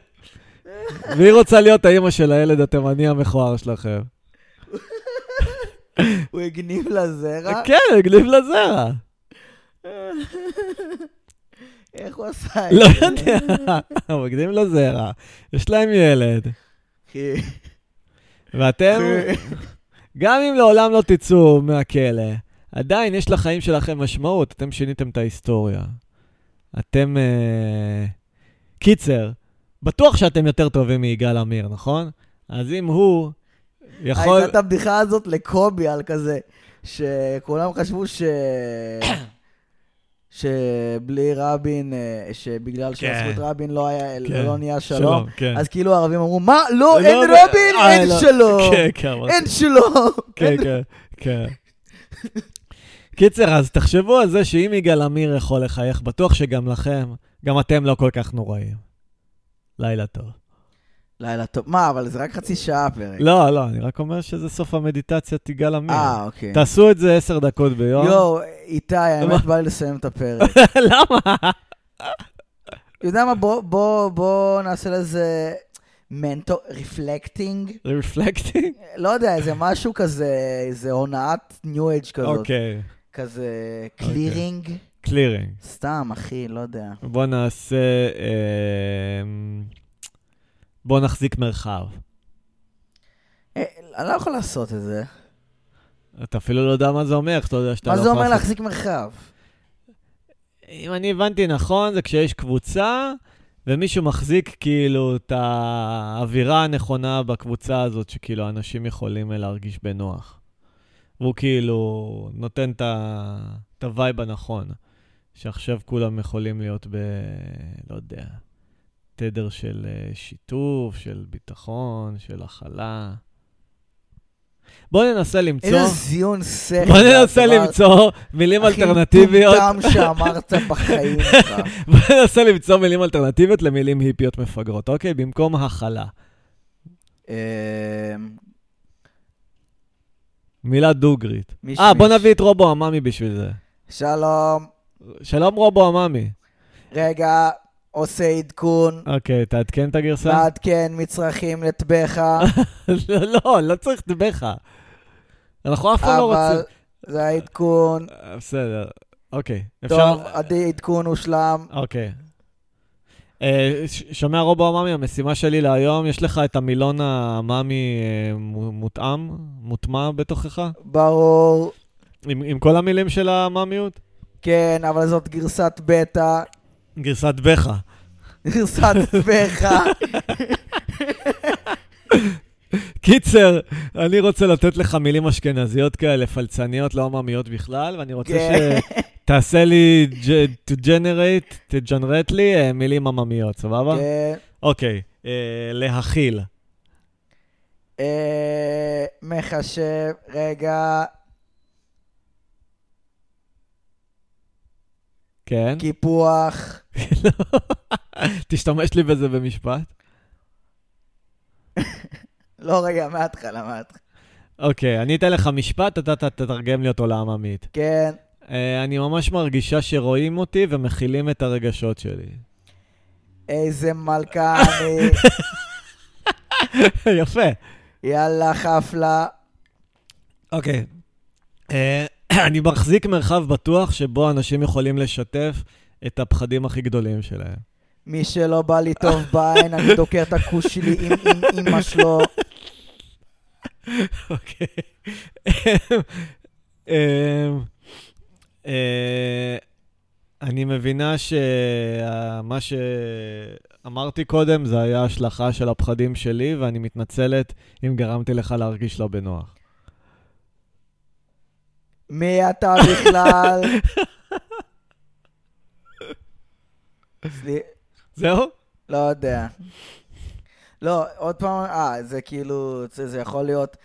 והיא רוצה להיות האימא של הילד התימני המכוער שלכם. הוא הגניב לזרע. כן, הגניב לזרע. איך הוא עשה את כן. לא זה? יודע, הוא הגניב לזרע. יש להם ילד, אחי, ואתם, אחי. גם אם לעולם לא תצאו מהכלא, עדיין יש לחיים שלכם משמעות, אתם שיניתם את ההיסטוריה. אתם... אה, קיצר, בטוח שאתם יותר טובים מיגאל עמיר, נכון? אז אם הוא יכול... הייתה את הבדיחה הזאת לקובי על כזה, שכולם חשבו ש... שבלי רבין, אה, שבגלל שעשו את רבין לא היה- כן. לא נהיה שלום, שלום, כן. אז כאילו הערבים אמרו, מה? לא, אין לא, רבין, אה, אין לא. שלום. כן, כן, אמרתי. אין שלום. כן, כן, כן. קיצר, אז תחשבו על זה שאם יגאל עמיר יכול לחייך, בטוח שגם לכם, גם אתם לא כל כך נוראים. לילה טוב. לילה טוב. מה, אבל זה רק חצי שעה הפרק. לא, לא, אני רק אומר שזה סוף המדיטציית יגאל עמיר. אה, אוקיי. תעשו את זה עשר דקות ביום. יואו, איתי, האמת לא? מה? בא לי לסיים את הפרק. למה? אתה יודע מה, בוא- בוא בוא נעשה לזה מנטור, רפלקטינג. רפלקטינג? לא יודע, איזה משהו כזה, איזה הונאת ניו אייג' כזאת. אוקיי, כזה קלירינג. קלירינג. סתם, אחי, לא יודע. בוא נעשה... אמ, בוא נחזיק מרחב. אה, אני לא יכול לעשות את זה. אתה אפילו לא יודע מה זה אומר, אתה יודע שאתה לא מה יכול זה אומר לעשות להחזיק מרחב? אם אני הבנתי נכון, זה כשיש קבוצה, ומישהו מחזיק כאילו את האווירה הנכונה בקבוצה הזאת, שכאילו אנשים יכולים להרגיש בנוח. והוא כאילו נותן את ה- את הווייב הנכון, שעכשיו כולם יכולים להיות ב... לא יודע, תדר של אה, שיתוף, של ביטחון, של הכלה. בואו ננסה למצוא... איזה זיון שכל. בואו ננסה הדבר למצוא מילים אלטרנטיביות. הכי מטומטם שאמרת בחיים שלך. בוא ננסה למצוא מילים אלטרנטיביות למילים היפיות מפגרות, אוקיי? במקום הכלה. אה, אה, מילה דוגרית. מיש- אה, בוא מיש. נביא את רובו עממי בשביל זה. שלום, שלום רובו עממי. רגע, עושה עדכון, אוקיי, תעדכן את הגרסה? לעדכן כן מצרכים לטבחה, לא, לא, לא צריך לדבר אנחנו אף פעם לא אבל רוצים... זה העדכון. אה, בסדר, אוקיי. אפשר... טוב, עדי עדכון הושלם. אוקיי. אה, ש- שומע רובו עממי, המשימה שלי להיום, יש לך את המילון העממי אה, מו- מותאם, מוטמע בתוכך? ברור. עם עם כל המילים של העממיות? כן, אבל זאת גרסת בטא, גרסת בכה. גרסת פחה. קיצר, אני רוצה לתת לך מילים אשכנזיות כאלה, פלצניות, לא עממיות בכלל, ואני רוצה כן. שתעשה לי, ג- to generate, תג'נרט לי אה, מילים עממיות, סבבה? כן. אוקיי, אה, להכיל, אה, מחשב, רגע, כן? קיפוח. לא. תשתמש לי בזה במשפט. לא, רגע, מההתחלה, מההתחלה. אוקיי, אני אתן לך משפט, אתה ת- תתרגם לי אותו לעממית. כן. אה, אני ממש מרגישה שרואים אותי ומכילים את הרגשות שלי. איזה מלכה אני, יפה. יאללה חפלה. אוקיי. אה, אני מחזיק מרחב בטוח שבו אנשים יכולים לשתף את הפחדים הכי גדולים שלהם. מי שלא בא לי טוב בעין, אני דוקר את הכוש שלי עם עם אמא שלו. אוקיי. אה, אמ, אה, אני מבינה שמה שאמרתי קודם זה היה השלכה של הפחדים שלי, ואני מתנצלת אם גרמתי לך להרגיש לא בנוח. מי אתה בכלל? סלי- זהו? לא יודע. לא, עוד פעם, אה, זה כאילו, זה, זה יכול להיות...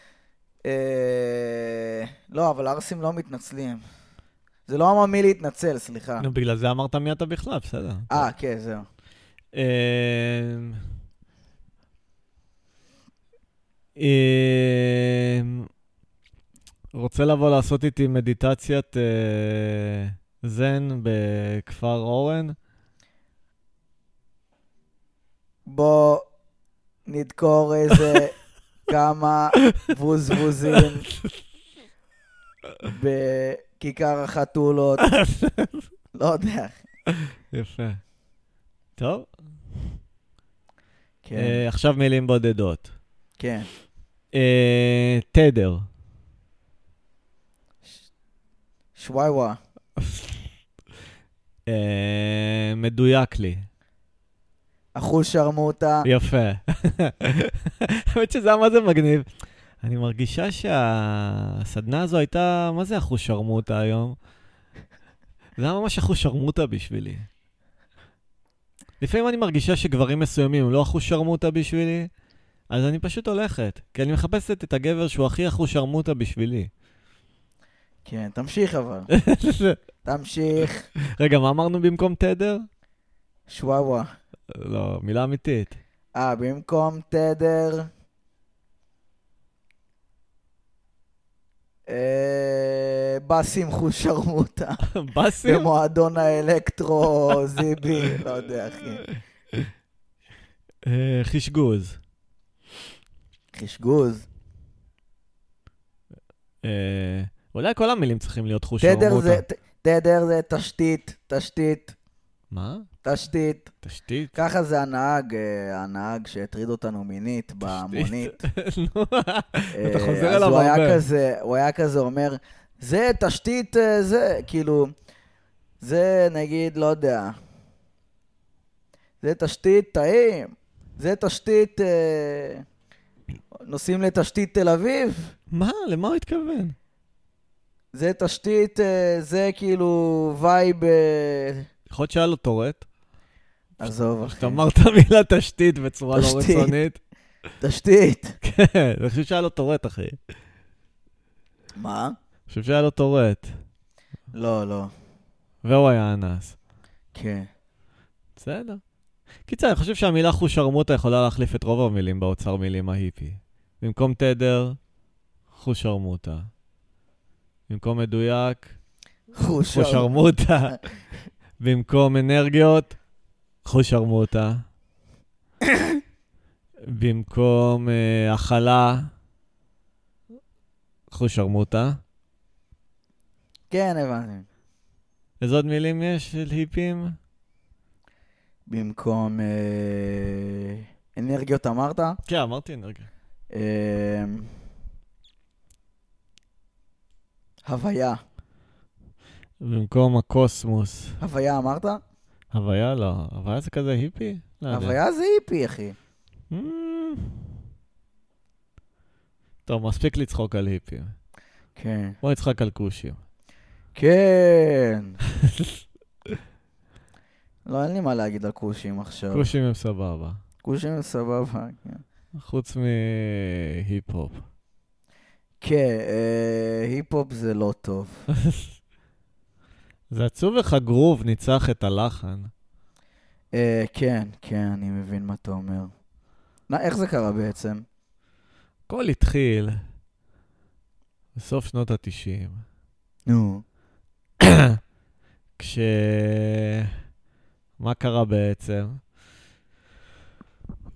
אה, לא, אבל ערסים לא מתנצלים. זה לא עממי להתנצל, סליחה. נו, בגלל זה אמרת מי אתה בכלל, בסדר. אה, כן, זהו. אמ, אמ, רוצה לבוא לעשות איתי מדיטציית אה, זן בכפר אורן? בוא נדקור איזה כמה ווזבוזים בכיכר החתולות. לא יודע. יפה. טוב, כן, אה, עכשיו מילים בודדות. כן. אה, תדר. שוואיווה. אה, מדויק לי. אחוז שרמוטה. יפה. האמת שזה היה מה זה מגניב. אני מרגישה שהסדנה הזו הייתה, מה זה אחושרמוטה היום? זה היה ממש אחושרמוטה בשבילי. לפעמים אני מרגישה שגברים מסוימים הם לא אחושרמוטה בשבילי, אז אני פשוט הולכת, כי אני מחפשת את הגבר שהוא הכי אחושרמוטה בשבילי. כן, תמשיך אבל. תמשיך. רגע, מה אמרנו במקום תדר? שוואיווה. לא, מילה אמיתית. אה, במקום תדר. אה, באסים חושרמוטה באסים? במועדון האלקטרו זיבי, לא יודע אחי. אה, חשגוז. חשגוז. אה, אולי כל המילים צריכים להיות חושרמוטה. תדר זה, ת- תדר זה תשתית, תשתית, מה? תשתית. תשתית? ככה זה הנהג, אה, הנהג שהטריד אותנו מינית במונית. נו, אתה אה, חוזר אז אליו הוא היה הרבה. כזה, הוא היה כזה אומר, זה תשתית, אה, זה, כאילו, זה נגיד, לא יודע, זה תשתית טעים, זה תשתית, אה, נוסעים לתשתית תל אביב, מה? למה הוא התכוון? זה תשתית, אה, זה כאילו וייב, אה, יכול להיות שהיה לו טורט, עזוב, אחי. שאתה אמרת מילה תשתית בצורה לא תשתית. רצונית. תשתית. כן, אני חושב שהיה לו טורט, אחי. אני מה? חושב שהיה לו טורט. לא, לא, והוא היה אנס. כן. בסדר. קיצר, אני חושב שהמילה חושרמוטה יכולה להחליף את רוב המילים באוצר מילים ההיפי. במקום תדר, חושרמוטה. במקום מדויק, חושרמוטה. חושרמוטה. במקום אנרגיות, חושרמוטה. במקום אה, הכלה, חושרמוטה. כן, הבנתי. איזה עוד מילים יש של היפים? במקום אה, אנרגיות אמרת? כן, אמרתי אנרגיה. אה, הוויה. במקום הקוסמוס. הוויה אמרת? הוויה לא. הוויה זה כזה היפי? לא יודע. הוויה זה היפי, אחי. Mm. טוב, מספיק לצחוק על היפים. כן. בוא נצחק על כושים. כן. לא, אין לי מה להגיד על כושים עכשיו. כושים הם סבבה. כושים זה סבבה. כן. חוץ אה, מהיפ-הופ. כן, אה, היפ-הופ זה לא טוב. זה עצוב איך הגרוב ניצח את הלחן. אה, כן, כן, אני מבין מה אתה אומר. נא, איך זה קרה בעצם? הכל התחיל בסוף שנות ה-90, נו. כש... מה קרה בעצם?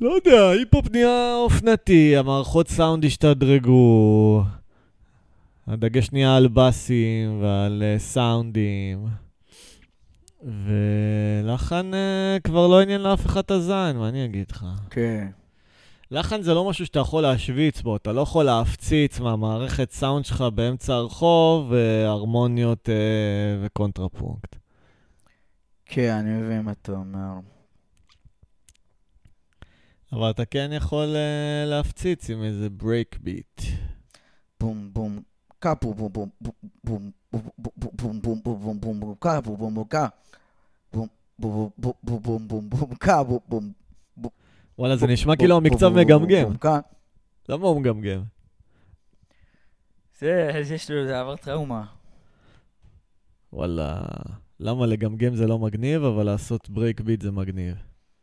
לא יודע, היפ-הופ נהיה אופנתי, המערכות סאונד השתדרגו, הדגש נהיה על בסים ועל אה, סאונדים, ולחן אה, כבר לא עניין לאף אחד את הזין, מה אני אגיד לך? כן. לחן זה לא משהו שאתה יכול להשוויץ בו, אתה לא יכול להפציץ מהמערכת סאונד שלך באמצע הרחוב, אה, הרמוניות אה, וקונטרפונקט. כן, אני מבין מה אתה אומר. אבל אתה כן יכול אה, להפציץ עם איזה ברייק ביט. בום בום קה בום בום בום בום בום בום בום בום בום בום בום בום קה בום בום בום קה בום בום בום בום בום בום בום קה בום בום וואלה, זה בום, נשמע בום, כאילו בום, המקצב בום, בום, בום, מגמגם. בום, קה. למה הוא מגמגם? זה, אז יש לו, זה עבר טראומה. וואלה, למה לגמגם זה לא מגניב, אבל לעשות ברייק ביט זה מגניב.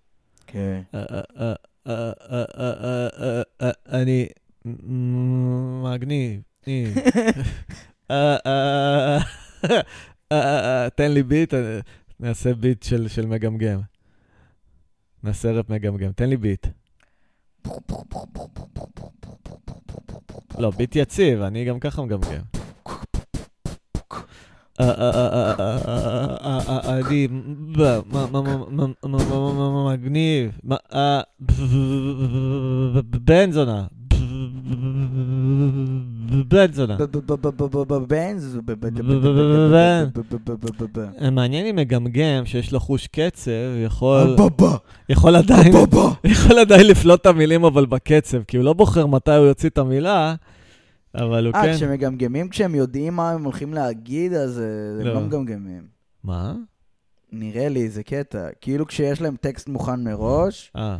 כן. אה, אה, אה, אה, אה, אה, אה, אה, אני מ- מגניב. ניב. אה, אה, אה, אה, תן לי ביט, אה, נעשה ביט של של מגמגם. נעשה ראפ מגמגם, תן לי ביט. לא, ביט יציב, אני גם ככה מגמגם. אה, אה, אה, אה, אה, אה, אה, אה, אני ב- מ- מ- מ- מ- מ- מ- מ- מ- מגניב. מ- אה, בן זונה. בן זונה. בן זו... בן. מעניין אם מגמגם שיש לו חוש קצב, יכול- בבא, יכול עדיין... בבא. יכול עדיין לפלוט את המילים אבל בקצב, כי הוא לא בוחר מתי הוא יוציא את המילה, אבל הוא אה, כן... כשמגמגמים, כשהם יודעים מה הם הולכים להגיד, אז אה, הם לא. לא מגמגמים. מה? נראה לי, זה קטע. כאילו כשיש להם טקסט מוכן מראש, אה,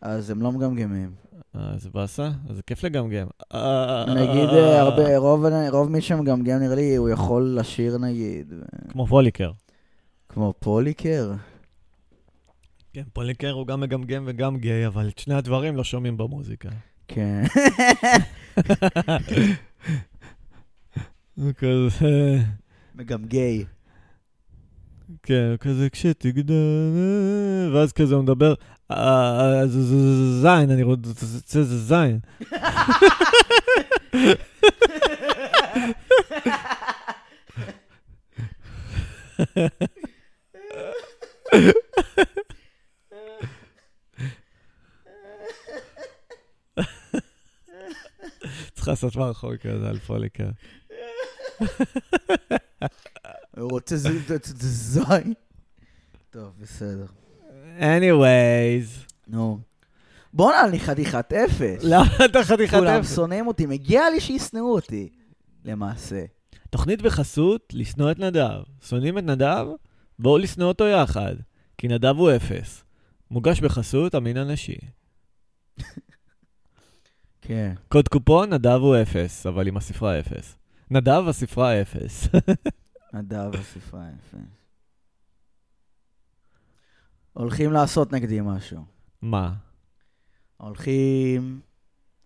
אז הם לא מגמגמים. אה, זה באסה? אז זה כיף לגמגם. אה, נגיד, אה, הרבה, רוב, רוב מי שמגמגם, נראה לי, הוא יכול לשיר נגיד, ו- כמו פוליקר. כמו פוליקר. כן, פוליקר הוא גם מגמגם וגם גיי, אבל את שני הדברים לא שומעים במוזיקה. כן. הוא כזה... מגמגי. כן, הוא כזה כשתגדל... ואז כזה הוא מדבר... "אה, אה, ז- ז- זין, אני רוצה זה זין. צריך לעשות מערכון כזה על פוליקר. הוא רוצה זה- זה- זה- זה זין. טוב, בסדר. anyways. נו. בואנה, אני חתיכת אפס. למה אתה לא, חתיכת כולם אפס? שונאים אותי, מגיע לי שישנאו אותי, למעשה. תוכנית בחסות, לשנוא את נדב. שונאים את נדב? בואו לשנוא אותו יחד, כי נדב הוא אפס. מוגש בחסות המין הנשי. כן. קוד קופון, נדב הוא אפס, אבל עם הספרה אפס. נדב, הספרה אפס. נדב הספרה יפה. הולכים לעשות נגדי משהו. מה? הולכים,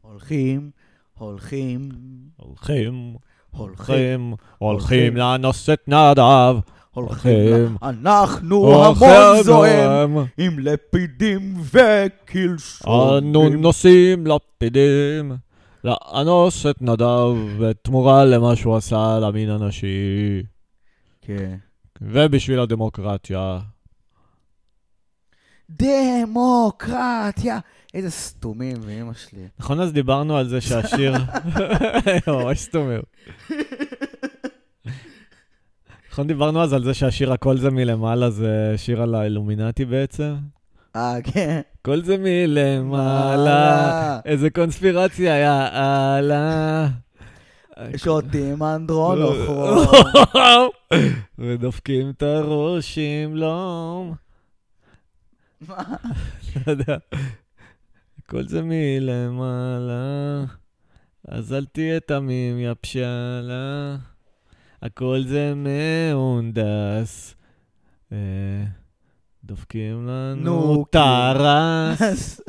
הולכים, הולכים, הולכים, הולכים, הולכים, הולכים. הולכים לאנוס את נדב. הולכים. אנחנו הולכים המון זועם, להם. עם לפידים וקלשובים. אנו נוסעים לפידים. לאנוס את נדב בתמורה למה שהוא עשה למין הנשי כן. ובשביל הדמוקרטיה. דמוקרטיה. איזה סתומים, ואימא שלי. נכון, אז דיברנו על זה שהשיר... ממש סתומר. נכון, דיברנו אז על זה שהשיר "הכל זה מלמעלה" זה שיר על האילומינטי בעצם? אה, כן. "כל זה מלמעלה", איזה קונספירציה, יאללה. שותים אנדרונוכו. לא. ודופקים את הראש עם לום. מה? לא יודע. כל זה מלמעלה, אז אל תהיה תמים, יא פשאלה. הכל זה מהונדס. אה, דופקים לנו נו, את הרס. אז-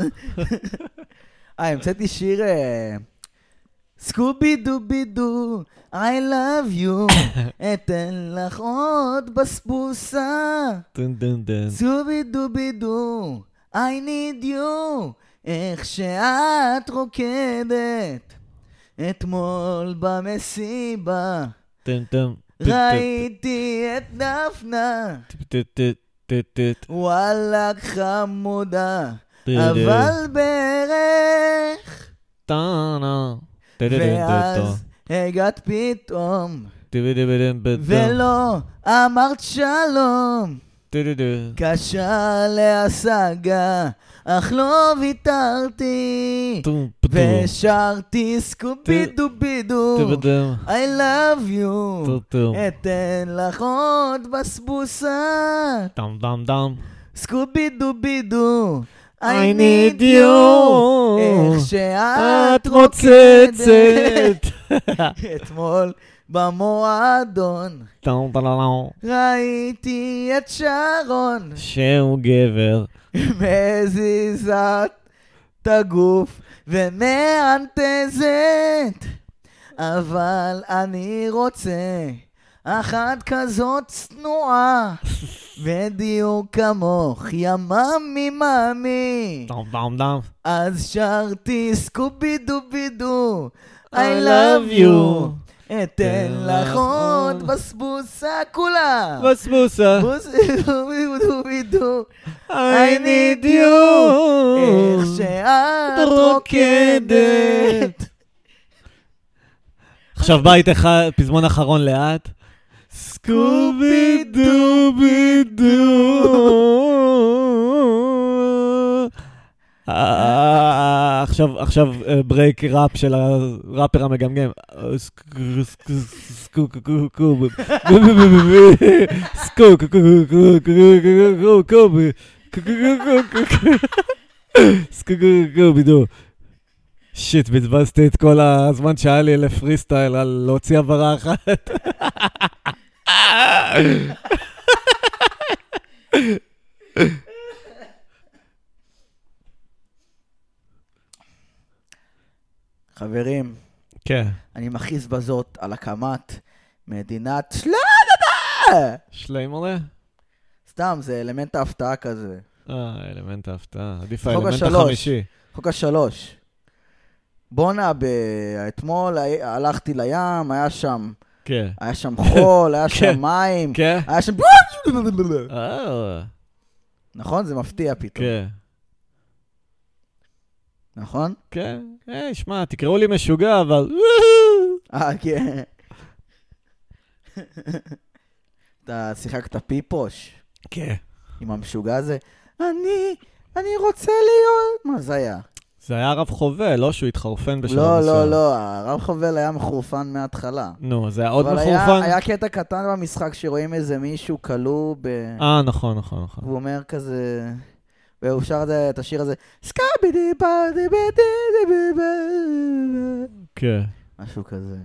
אה, המצאתי שיר... אה, סקובי דובי דו, I love you, אתן לך עוד בסבוסה. טן טן טן. סקובי דובי דו, I need you, איך שאת רוקדת. אתמול במסיבה, טן טן. ראיתי את דפנה, טן, טן, טן, טן, טן. וואלכ חמודה, אבל בערך... טאנה. טן, טן, טן, טן. ואז הגעת פתאום, טן, טן, טן, טן. ולא אמרת שלום. טן, טן, קשה להשגה, אך לא ויתרתי, טן. טן, ושרתי סקובי דו בידו, טן, טן. I love you, טו, טו. אתן לך עוד בסבוסה, דם דם דם. סקובי דו בידו, I I need need you, you. איך שאת את רוקדת, רוצצת. אתמול במועדון. טם טללם. ראיתי את שרון שהוא גבר. מזיזת את הגוף ומאנטזת אבל אני רוצה אחת כזאת צנועה בדיוק כמוך יממי ממי טם טם טם. אז שרתי סקובי דובי דו I I love love you you. אתן לך לך עוד עוד. בסבוסה כולה בסבוסה. בוזידו, I I need need אה, איך you. שאת רוקדת. רוקדת. עכשיו בית אחד, פזמון אחרון לאט. סקובי דובי דו. אה, עכשיו, עכשיו אה, ברייק ראפ של הראפר המגמגם. אה, סק- סק- סקו- קו- קו- קו- ב- ב- ב- ב- ב- סקו- קו- קו- קו- קו- קו- קו- קו- ב- קו- קו- קו- קו- קו- סקו- קו- קו- בידו. שיט, בזבזתי את כל הזמן שהיה לי לפרי סטייל על להוציא הברה אחת. חברים, כן. אני מכריז בזאת על הקמת מדינת שלאדדה! שליימלה? סתם, זה אלמנט ההפתעה כזה. אה, אלמנט ההפתעה. עדיף חוק האלמנט השלוש. החמישי. חוק השלוש. בואנה, ב... אתמול הי- הלכתי לים, היה שם, כן. היה שם חול, היה שם כן. מים, כן? היה שם... אה, נכון? זה מפתיע פתאום, כן. נכון? כן. היי, שמע, תקראו לי משוגע, אבל... אה, כן. אתה שיחקת פיפוש כן. עם המשוגע הזה? אני, אני רוצה להיות... מה זה היה? זה היה הרב חובל, לא שהוא התחרפן בשלב לא, מסוים. לא, לא, הרב חובל היה מחורפן מההתחלה. נו, זה היה עוד אבל היה- מחורפן? היה קטע קטן במשחק שרואים איזה מישהו כלוא ב... אה, נכון, נכון, נכון. והוא אומר כזה... והוא שר את ה- את השיר הזה, סקאבי די פאדי בדי די כן. משהו כזה.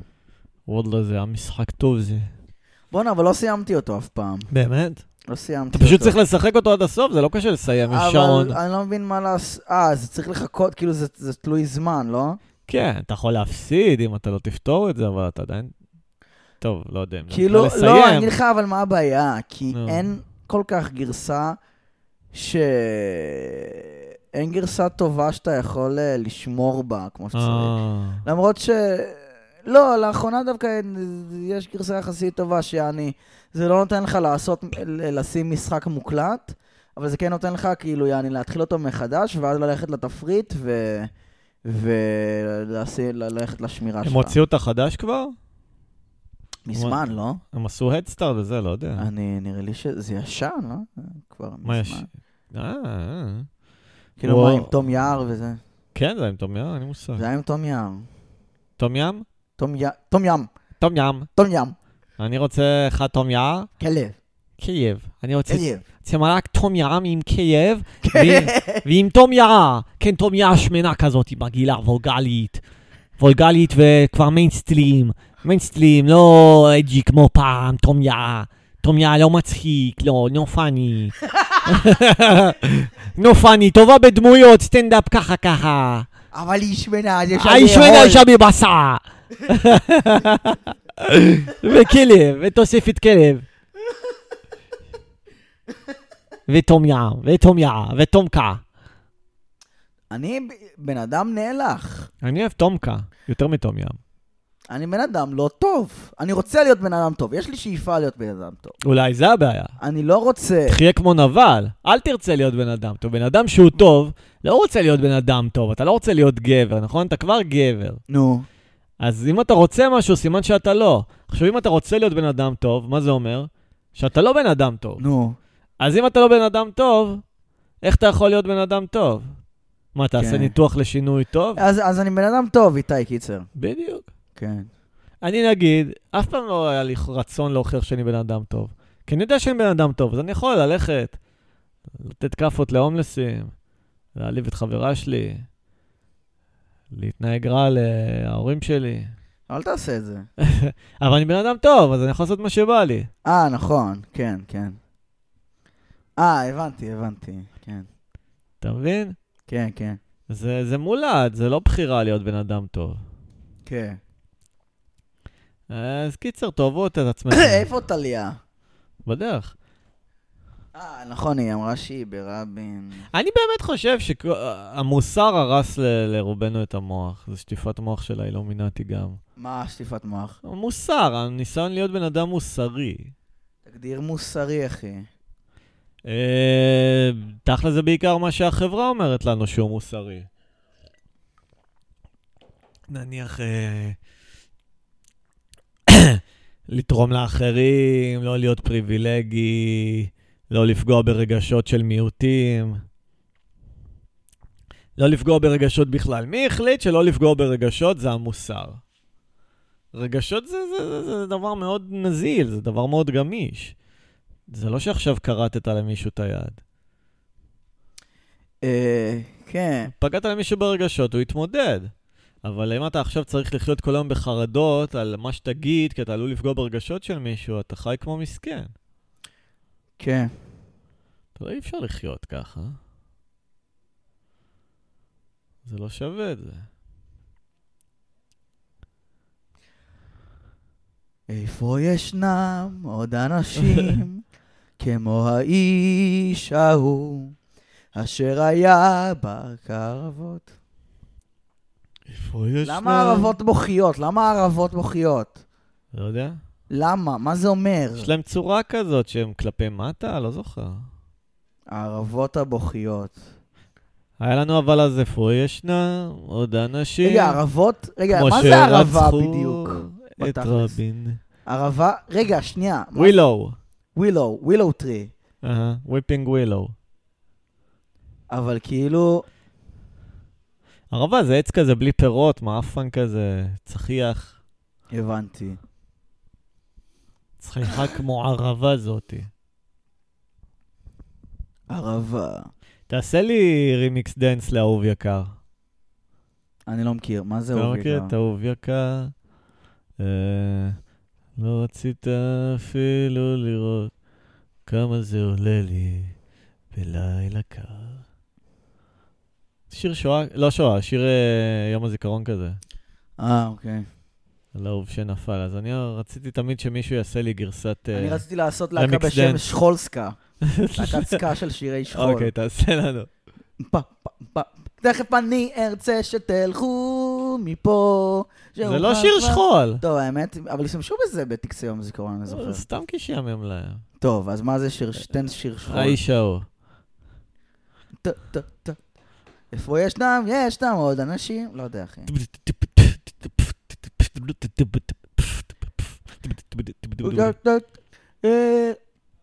וואלה, זה היה משחק טוב זה. בואנה, אבל לא סיימתי אותו אף פעם. באמת? לא סיימתי אתה אותו. פשוט צריך לשחק אותו עד הסוף, זה לא קשה לסיים, יש שעון. אבל אני לא מבין מה לעשות. אה, זה צריך לחכות, כאילו זה- זה תלוי זמן, לא? כן, אתה יכול להפסיד אם אתה לא תפתור את זה, אבל אתה עדיין... טוב, לא יודע אם זה כאילו, נקרא לא, אני לסיים. לא. אגיד לך אבל מה הבעיה, כי נו. אין כל כך גרסה ש... אין גרסה טובה שאתה יכול אה, לשמור בה כמו שצריך. אה, למרות ש... לא, לאחרונה דווקא אין- יש גרסה יחסית טובה, שיעני, זה לא נותן לך לעשות, ל- לשים משחק מוקלט, אבל זה כן נותן לך, כאילו, יעני, להתחיל אותו מחדש, ואז ללכת לתפריט, ו... וללכת לשמירה הם שלך. הוציאו את החדש כבר? מזמן, לא? הם עשו הדסטארט וזה, לא יודע. אני, נראה לי שזה ישן, לא? כבר מה יש? מזמן. אה, אה. כאילו, וואו. מה, עם תום יער וזה? כן, זה עם תום ים, אין לי מושג. זה היה עם תום יער. תום ים? תום י- תום ים, תום ים. תום ים, אני רוצה לך תום יער. כלב, קייב. אני רוצה כלב. צמרק תום ים עם קייב, ועם- ועם תום יער. כן, תום יער שמנה כזאת, היא מגעילה, וולגלית. וולגלית וכבר מיינסטרים. מיינסטרים, לא אג'י כמו פעם, תום יער. תום יער לא מצחיק, לא, נו פאני. נו פאני, טובה בדמויות, סטנדאפ ככה ככה. אבל היא שמנה, אז יש לה האיש לאכול. האישה בבשר. וכלב, ותוספת כלב. ותום יער, ותום יער, ותומקה. אני ב- בן אדם נאלח. אני אוהב תומקה, יותר מתום ים. אני בן אדם לא טוב. אני רוצה להיות בן אדם טוב. יש לי שאיפה להיות בן אדם טוב. אולי זה הבעיה. אני לא רוצה... תחיה כמו נבל, אל תרצה להיות בן אדם טוב. בן אדם שהוא טוב, לא רוצה להיות בן אדם טוב, אתה לא רוצה להיות גבר, נכון? אתה כבר גבר. נו. אז אם אתה רוצה משהו, סימן שאתה לא. עכשיו, אם אתה רוצה להיות בן אדם טוב, מה זה אומר? שאתה לא בן אדם טוב. נו. אז אם אתה לא בן אדם טוב, איך אתה יכול להיות בן אדם טוב? מה, תעשה כן. ניתוח לשינוי טוב? אז אז אני בן אדם טוב, איתי קיצר. בדיוק. כן. אני נגיד, אף פעם לא היה לי רצון להוכיח שאני בן אדם טוב. כי אני יודע שאני בן אדם טוב, אז אני יכול ללכת, לתת כאפות להומלסים, להעליב את חברה שלי, להתנהג רע להורים שלי. אל תעשה את זה. אבל אני בן אדם טוב, אז אני יכול לעשות מה שבא לי. אה, נכון. כן, כן. אה, הבנתי, הבנתי. כן. אתה מבין? כן, כן. זה, זה מולד, זה לא בחירה להיות בן אדם טוב. כן. אז קיצר, תאהבו את עצמכם. אה, איפה טליה? בדרך. אה, נכון, היא אמרה שהיא ברבין. אני באמת חושב שהמוסר הרס ל- לרובנו את המוח. זו שטיפת מוח של האילומינטי גם. מה שטיפת מוח? המוסר, הניסיון להיות בן אדם מוסרי. תגדיר מוסרי, אחי. אה, תכל'ס זה בעיקר מה שהחברה אומרת לנו שהוא מוסרי. נניח אה, לתרום לאחרים, לא להיות פריבילגי, לא לפגוע ברגשות של מיעוטים. לא לפגוע ברגשות בכלל. מי החליט שלא לפגוע ברגשות זה המוסר. רגשות זה, זה, זה, זה דבר מאוד נזיל, זה דבר מאוד גמיש. זה לא שעכשיו כרתת למישהו את היד. אה, כן. פגעת למישהו ברגשות, הוא יתמודד. אבל אם אתה עכשיו צריך לחיות כל היום בחרדות על מה שתגיד, כי אתה עלול לפגוע ברגשות של מישהו, אתה חי כמו מסכן. כן. אתה יודע, אי אפשר לחיות ככה. זה לא שווה את זה. איפה ישנם עוד אנשים כמו האיש ההוא, אשר היה בקרבות? איפה יש למה הערבות בוכיות? למה הערבות בוכיות? לא יודע. למה? מה זה אומר? יש להם צורה כזאת שהם כלפי מטה? לא זוכר. הערבות הבוכיות. היה לנו אבל אז איפה ישנם עוד אנשים. רגע, ערבות? רגע, כמו מה זה ערבה שרצחו בדיוק? את בתכלס? רבין. ערבה? רגע, שנייה. ווילאו. ווילו, ווילו טרי. אהה, וויפינג ווילאו. אבל כאילו, ערבה זה עץ כזה בלי פירות, מעפן כזה, צחיח. הבנתי. צחיחה כמו ערבה זאתי. ערבה. תעשה לי רימיקס דנס לאהוב יקר. אני לא מכיר, מה זה אתה לא אהוב מכיר יקר? את אהוב יקר? אה, לא רצית אפילו לראות כמה זה עולה לי בלילה קר. שיר שואה, לא שואה, שיר אה, יום הזיכרון כזה, אה, אוקיי. על אהוב שנפל. אז אני רציתי תמיד שמישהו יעשה לי גרסת... אה, אני רציתי לעשות למיקס להקה בשם דנס. שכולסקה. להקת סקה של שירי שכול. אוקיי, תעשה לנו. פה, פה, פה. תכף אני ארצה שתלכו מפה. זה שאוכל לא שיר כבר- שכול. טוב, האמת, אבל השתמשו בזה בטקסי יום הזיכרון, אני זוכר. סתם כי שיאמם להם. טוב, אז מה זה שיר? תן שיר שכול. האיש ההוא. ט- ט- ט- איפה ישנם? ישנם עוד אנשים? לא יודע, אחי. אה,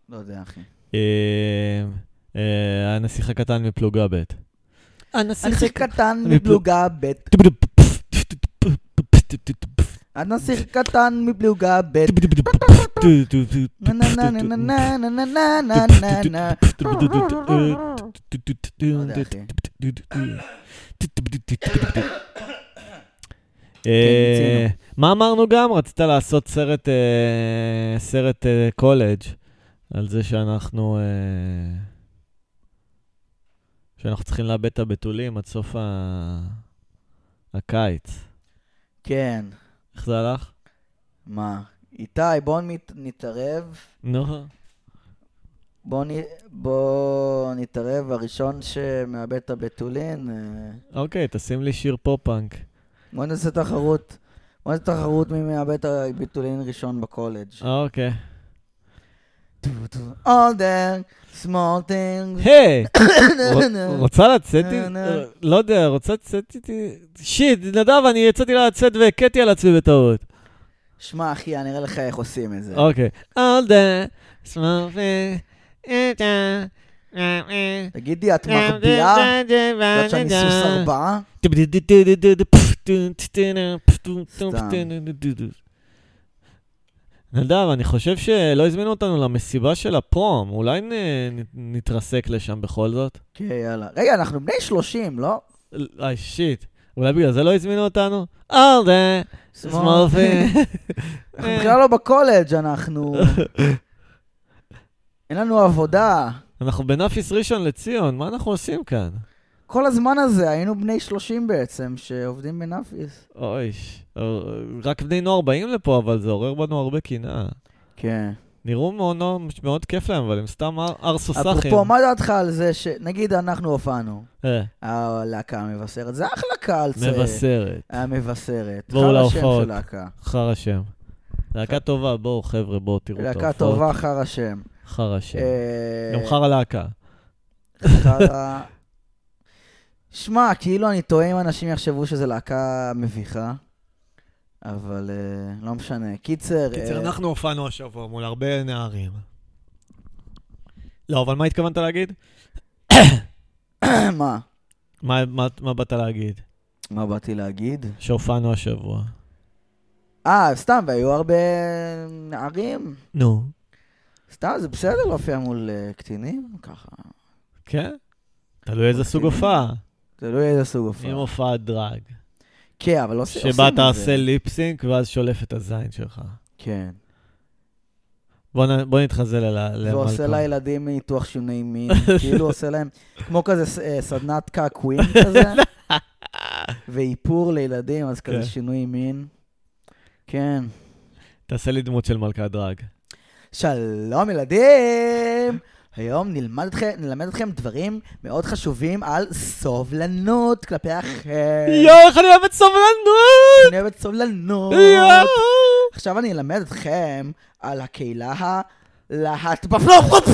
לא יודע, אחי. אה, אה, הנסיך הקטן מפלוגה ב'. הנסיך קטן מפלוג- מפלוגה ב', הנסיך קטן מפלוגה ב', נה נה נה נה נה נה נה נה אה, נה נה נה לא יודע, אחי. אה, מיצינו. מה אמרנו גם? רצית לעשות סרט, אה, סרט אה, קולג' על זה שאנחנו... אה, שאנחנו צריכים לאבד את הבתולים עד סוף ה... הקיץ. כן, איך זה הלך? מה? איתי, בוא נת- נתערב. נו. בוא נ... בוא נתערב, הראשון שמאבד את הבתולין, אה, אוקיי, תשים לי שיר פופ-פאנק. בוא נעשה תחרות. בוא נעשה תחרות מי מאבד את הבתולין ראשון בקולג'. אוקיי. All the small things. היי! רוצ- רוצה לצאת נה, איתי? נה. אה, לא יודע, רוצה לצאת איתי? שיט, נדב, אני יצאתי לצאת והכיתי על עצמי בטעות. שמע, אחי, אני אראה לך איך עושים את זה. אוקיי. All the uh, small things. uh, תגידי, את מחביאה? את יודעת שאני סוס ארבעה? נדב, אני חושב שלא הזמינו אותנו למסיבה של הפרום, אולי נ- נ- נתרסק לשם בכל זאת? כן, יאללה. רגע, אנחנו בני 30, לא? אה, שיט. אולי בגלל זה לא הזמינו אותנו? All the small things. אנחנו בכלל לא בקולג', אנחנו... אין לנו עבודה. אנחנו בנאפיס ראשון לציון, מה אנחנו עושים כאן? כל הזמן הזה היינו בני 30 בעצם, שעובדים בנאפיס. אוי, ש- אה, רק בני נוער באים לפה, אבל זה עורר בנו הרבה קנאה. כן. נראו מאוד, מאוד כיף להם, אבל הם סתם הר- ארסוסאחים. אפרופו, מה דעתך על זה ש... נגיד אנחנו הופענו, אה, הלהקה המבשרת, זה אחלה קהל צעיר. מבשרת, המבשרת. בואו חרא שם להופעות. של להקה. חרא שם. להקה טובה, בואו חבר'ה, בואו תראו את להקה ההופעות. טובה, חרא שם. חרא שם. אה, גם חרא להקה. חרא... שמע, כאילו אני טועה אם אנשים יחשבו שזו להקה מביכה, אבל אה, לא משנה. קיצר, אה, אנחנו הופענו השבוע מול הרבה נערים. לא, אבל מה התכוונת להגיד? נכון. מה? מה- מה מה באת להגיד? מה באתי להגיד? שהופענו השבוע. אה, סתם, והיו הרבה נערים. נו. סתם, זה בסדר להופיע מול אה, קטינים? ככה. כן? תלוי איזה סוג הופעה. תלוי לא איזה סוג אם אוקיי. הופעה. הופעת דרג, כן, אבל לא עושים עושים את זה. שבה אתה עושה ליפסינק ואז שולף את הזין שלך. כן. בוא נ- בוא נתחזה ל- למלכה. ועושה לילדים ניתוח שינוי מין, כאילו עושה להם, כמו כזה ס- אה, סדנת קעקועים כזה, ואיפור לילדים, אז כן. כזה שינוי מין. כן. תעשה לי דמות של מלכת דרג. שלום ילדים! היום נלמד אתכם, נלמד אתכם דברים מאוד חשובים על סובלנות כלפי האחר. יואו, איך אני אוהב את סובלנות! אני אוהבת סובלנות. יואו! עכשיו אני אלמד אתכם על הקהילה ה... להט בפלופ!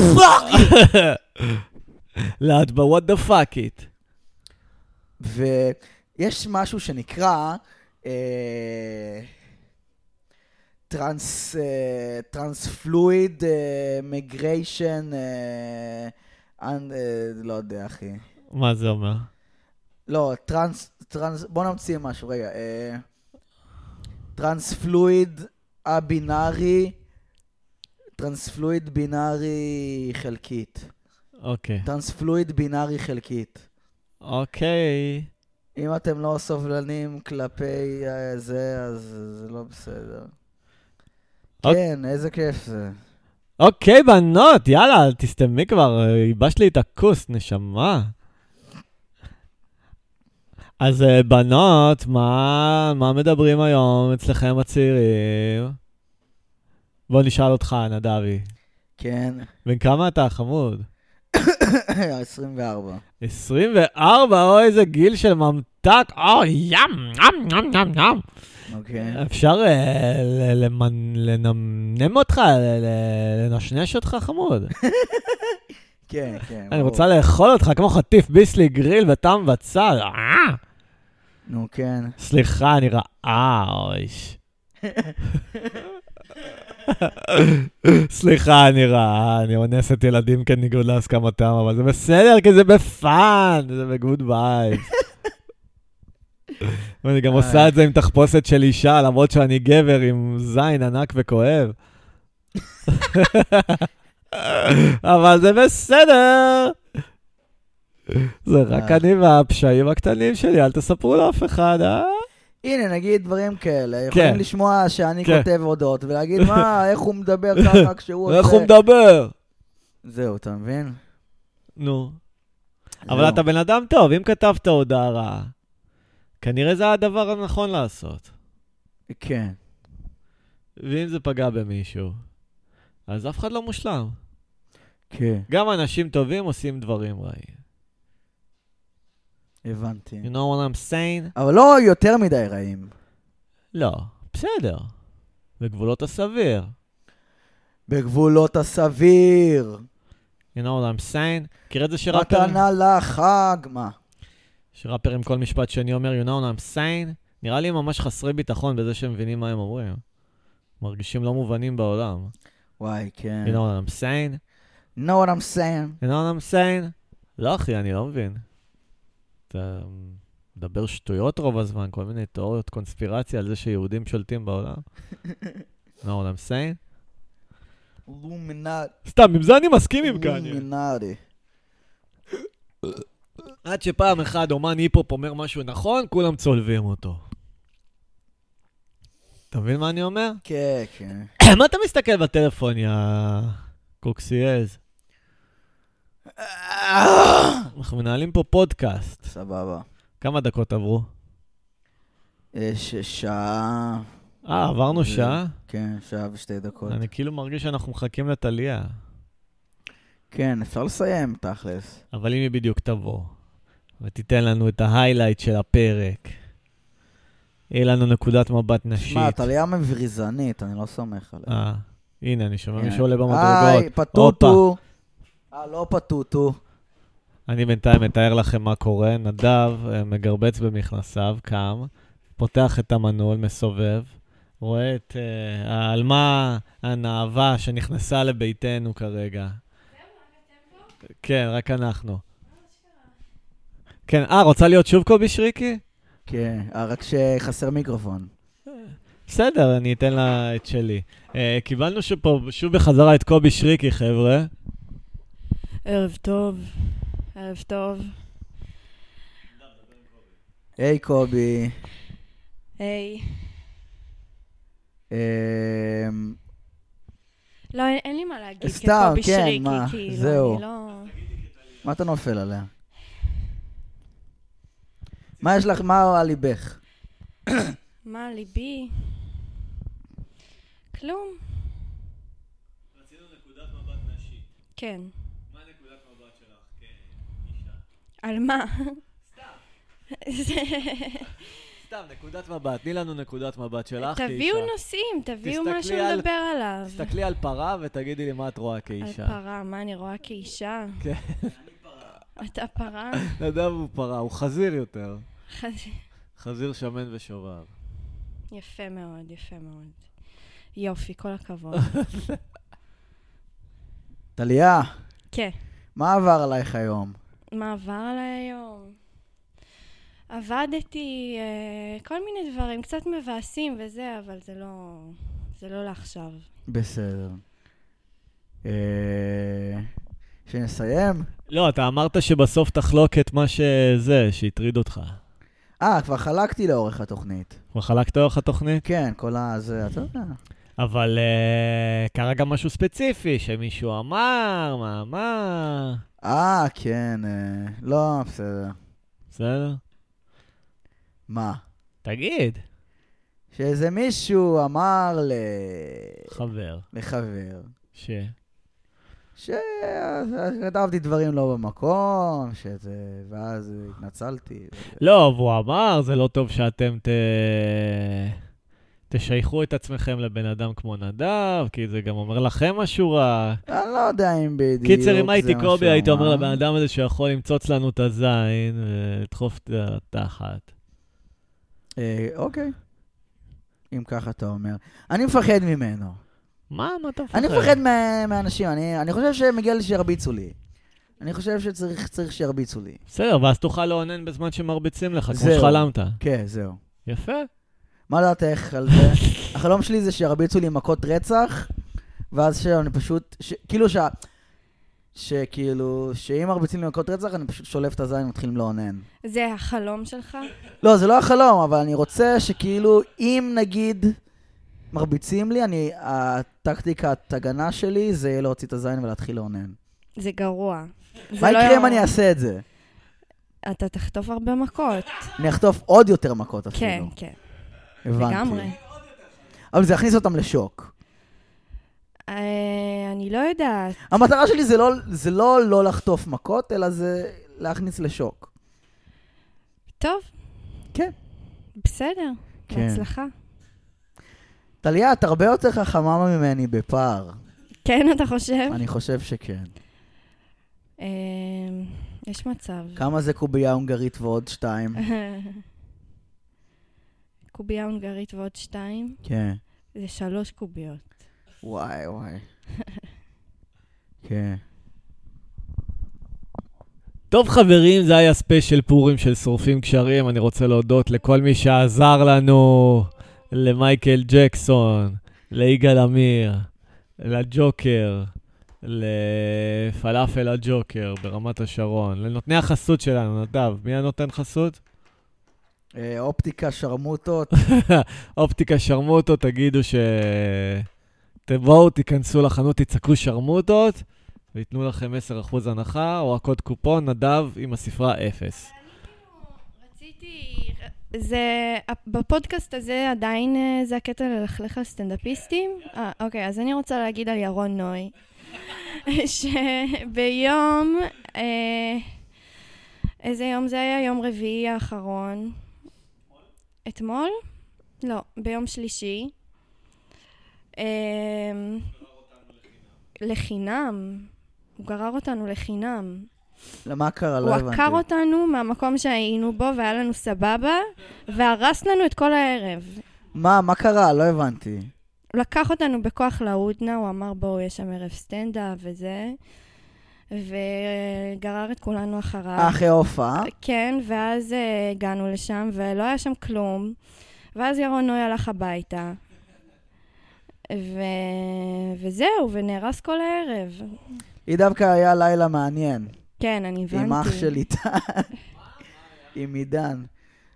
לאט ב- what the fuck it. ויש משהו שנקרא אה, טרנס, אה, טרנס פלואיד אה, מגריישן, אה, אנ- אה, לא יודע אחי. מה זה אומר? לא, טרנס, טרנס, בוא נמציא משהו, רגע. אה, טרנס פלואיד הבינארי, טרנס פלואיד בינארי חלקית. אוקיי. טרנס פלואיד בינארי חלקית. אוקיי. אם אתם לא סובלנים כלפי אה, זה, אז זה לא בסדר. אוק. כן, איזה כיף זה. אוקיי, בנות, יאללה, תסתמי כבר, אה, ייבש לי את הכוס, נשמה. אז אה, בנות, מה, מה מדברים היום אצלכם הצעירים? בוא נשאל אותך, נדבי. כן, בן כמה אתה, חמוד? 24. 24, או איזה גיל של ממתק, או ים, ים, ים, ים, ים. אוקיי. אפשר אה, ל- למנ- לנמנם אותך, ל- ל- לנשנש אותך, חמוד? כן, כן. אני ברור. רוצה לאכול אותך כמו חטיף ביסלי גריל וטעם בצל. אה! נו, כן. סליחה, אני רעה, אויש. סליחה, אני רעה, אני אונסת ילדים כניגוד להסכמתם, אבל זה בסדר, כי זה בפאן, זה בגוד בייב. ואני גם עושה את זה עם תחפושת של אישה, למרות שאני גבר עם זין ענק וכואב. אבל זה בסדר. זה רק אה. אני והפשעים הקטנים שלי, אל תספרו לאף אחד, אה? הנה, נגיד דברים כאלה. יכולים לשמוע שאני כן. כותב הודעות ולהגיד, מה, איך הוא מדבר ככה כשהוא עושה... איך הוא מדבר? זהו, אתה מבין? נו. זהו. אבל אתה בן אדם טוב, אם כתבת הודעה רעה, כנראה זה הדבר הנכון לעשות. כן. ואם זה פגע במישהו, אז אף אחד לא מושלם. כן, גם אנשים טובים עושים דברים רעים. הבנתי. You know what I'm saying? אבל לא יותר מדי רעים. לא. בסדר. בגבולות הסביר. בגבולות הסביר. You know what I'm saying? מכיר את זה שראפרים, מתנה לחג, מה? שראפרים כל משפט שני אומר, you know what I'm saying? נראה לי הם ממש חסרי ביטחון בזה שהם מבינים מה הם אומרים. מרגישים לא מובנים בעולם. וואי, כן. You know what I'm saying? know what I'm saying? You know what I'm saying? לא, אחי, אני לא מבין. אתה מדבר שטויות רוב הזמן, כל מיני תיאוריות קונספירציה על זה שיהודים שולטים בעולם. You know what I'm saying? לומינט. סתם, עם זה אני מסכים עם קניה. Mm. לומינטי. עד שפעם אחת אומן היפ-הופ אומר משהו נכון, כולם צולבים אותו. אתה מבין מה אני אומר? כן, כן. מה אתה מסתכל בטלפון, יא קוקסיאז? אנחנו מנהלים פה פודקאסט. סבבה. כמה דקות עברו? יש שעה, אה, עברנו שעה? כן, שעה ושתי דקות. אני כאילו מרגיש שאנחנו מחכים לטליה, כן, אפשר לסיים, תכלס. אבל אם היא בדיוק תבוא, ותיתן לנו את ההיילייט של הפרק, יהיה לנו נקודת מבט נשית. שמע, טליה מבריזנית, אני לא סומך עליה. אה, הנה, אני שומע כן. מישהו עולה במדרגות. היי, פטוטו. אה, לא פטוטו. אני בינתיים מתאר לכם מה קורה. נדב אה, מגרבץ במכנסיו, קם, פותח את המנעול, מסובב, רואה את אה, העלמה הנאווה שנכנסה לביתנו כרגע. כן, רק אנחנו. כן, אה, רוצה להיות שוב קובי שריקי? כן, אה, רק שחסר מיקרופון. בסדר, אני אתן לה את שלי. אה, קיבלנו שוב פה, שוב בחזרה את קובי שריקי, חבר'ה. ערב טוב, ערב טוב. היי, קובי. היי. אמ, לא, אין- אין לי מה להגיד סתם, כקובי כן, שריקי, מה, כאילו, זהו. אני לא... מה אתה נופל עליה? מה יש לך, מה על ליבך? מה, ליבי? כלום. כן. על מה? זה- סתם, נקודת מבט. תני לנו נקודת מבט שלך, תביאו נושאים, תביאו תסתכלי משהו על- לדבר עליו. תסתכלי על פרה ותגידי לי מה את רואה על כאישה. פרה, מה אני רואה כאישה? כן, אתה פרה? נדב הוא פרה, הוא חזיר יותר. חז- חזיר שמן ושובב. יפה מאוד, יפה מאוד. יופי, כל הכבוד. טליה, כן. מה עבר עלייך היום? מה עבר עליי היום? עבדתי, אה, כל מיני דברים, קצת מבאסים וזה, אבל זה לא, זה לא לעכשיו. בסדר. אה, שנסיים? לא, אתה אמרת שבסוף תחלוק את מה שזה, שהטריד אותך. אה, כבר חלקתי לאורך התוכנית. כבר חלקת אורך התוכנית? כן, כל הזה, אתה יודע. אבל אה, קרה גם משהו ספציפי, שמישהו אמר, מה אמר, אה, כן, אה, לא, בסדר. בסדר? מה? תגיד, שאיזה מישהו אמר ל... חבר, לחבר, ש... שכתבתי דברים לא במקום, שזה... ואז התנצלתי. וזה. לא, והוא אמר, זה לא טוב שאתם ת... תשייכו את עצמכם לבן אדם כמו נדב, כי זה גם אומר לכם משהו רע. אני לא יודע אם בדיוק קיצר, אם זה הייתי מה קובי, שהוא הייתי אומר אמר. לבן אדם הזה שיכול למצוץ לנו את הזין ולדחוף את התחת. אה, אוקיי. אם ככה אתה אומר. אני מפחד ממנו. מה, מה אתה מפחד? אני מפחד מה- מאנשים, אני, אני חושב שמגיע לי שירביצו לי. אני חושב שצריך צריך שירביצו לי. בסדר, ואז תוכל לאונן בזמן שמרביצים לך, כמו זהו. שחלמת. כן, זהו. יפה. מה דעתך על זה? החלום שלי זה שירביצו לי מכות רצח, ואז שאני פשוט, ש, כאילו שה... שכאילו, שאם מרביצים לי מכות רצח, אני פשוט שולף את הזין ומתחיל לאונן. זה החלום שלך? לא, זה לא החלום, אבל אני רוצה שכאילו, אם נגיד מרביצים לי, אני, הטקטיקת הגנה שלי זה להוציא את הזין ולהתחיל לאונן. זה גרוע. זה מה לא יקרה אם יאומן. אני אעשה את זה? אתה תחטוף הרבה מכות. אני אחטוף עוד יותר מכות אפילו. כן, כן, הבנתי. לגמרי. אבל זה יכניס אותם לשוק. אה, אני לא יודעת. המטרה שלי זה לא, זה לא לא לחטוף מכות, אלא זה להכניס לשוק. טוב, כן. בסדר. כן. בהצלחה. טליה, את הרבה יותר חכמה ממני בפער. כן, אתה חושב? אני חושב שכן. אה, יש מצב. כמה זה קובייה הונגרית ועוד שתיים? קובייה הונגרית ועוד שתיים, כן. זה שלוש קוביות. וואי, וואי. כן. טוב חברים, זה היה ספיישל פורים של שורפים קשרים. אני רוצה להודות לכל מי שעזר לנו, למייקל ג'קסון, ליגאל עמיר, לג'וקר, לפלאפל הג'וקר ברמת השרון, לנותני החסות שלנו, נדב, מי הנותן חסות? אה, אופטיקה, שרמוטות. אופטיקה שרמוטו, תגידו ש... תבואו, תיכנסו לחנות, תצעקו שרמוטות, וייתנו לכם 10% הנחה, או הקוד קופון, נדב עם הספרה 0. רציתי... זה... בפודקאסט הזה עדיין אה, זה הקטע ללכלך על סטנדאפיסטים? אה, אוקיי, אז אני רוצה להגיד על ירון נוי, שביום... אה, איזה יום זה היה? יום רביעי האחרון. אתמול? לא, ביום שלישי. אה, לחינם. הוא גרר אותנו לחינם. לא, מה קרה? לא הוא הבנתי. עקר אותנו מהמקום שהיינו בו והיה לנו סבבה, והרס לנו את כל הערב. מה, מה קרה? לא הבנתי. הוא לקח אותנו בכוח להודנה, הוא אמר בואו, יש שם ערב סטנדאפ וזה, וגרר את כולנו אחריו. אה, אחרי ההופעה? כן, ואז אה, הגענו לשם, ולא היה שם כלום. ואז ירון נוי הלך הביתה. ו... וזהו, ונהרס כל הערב. היא דווקא היה לילה מעניין. כן, אני הבנתי. עם אח של איתן, עם עידן.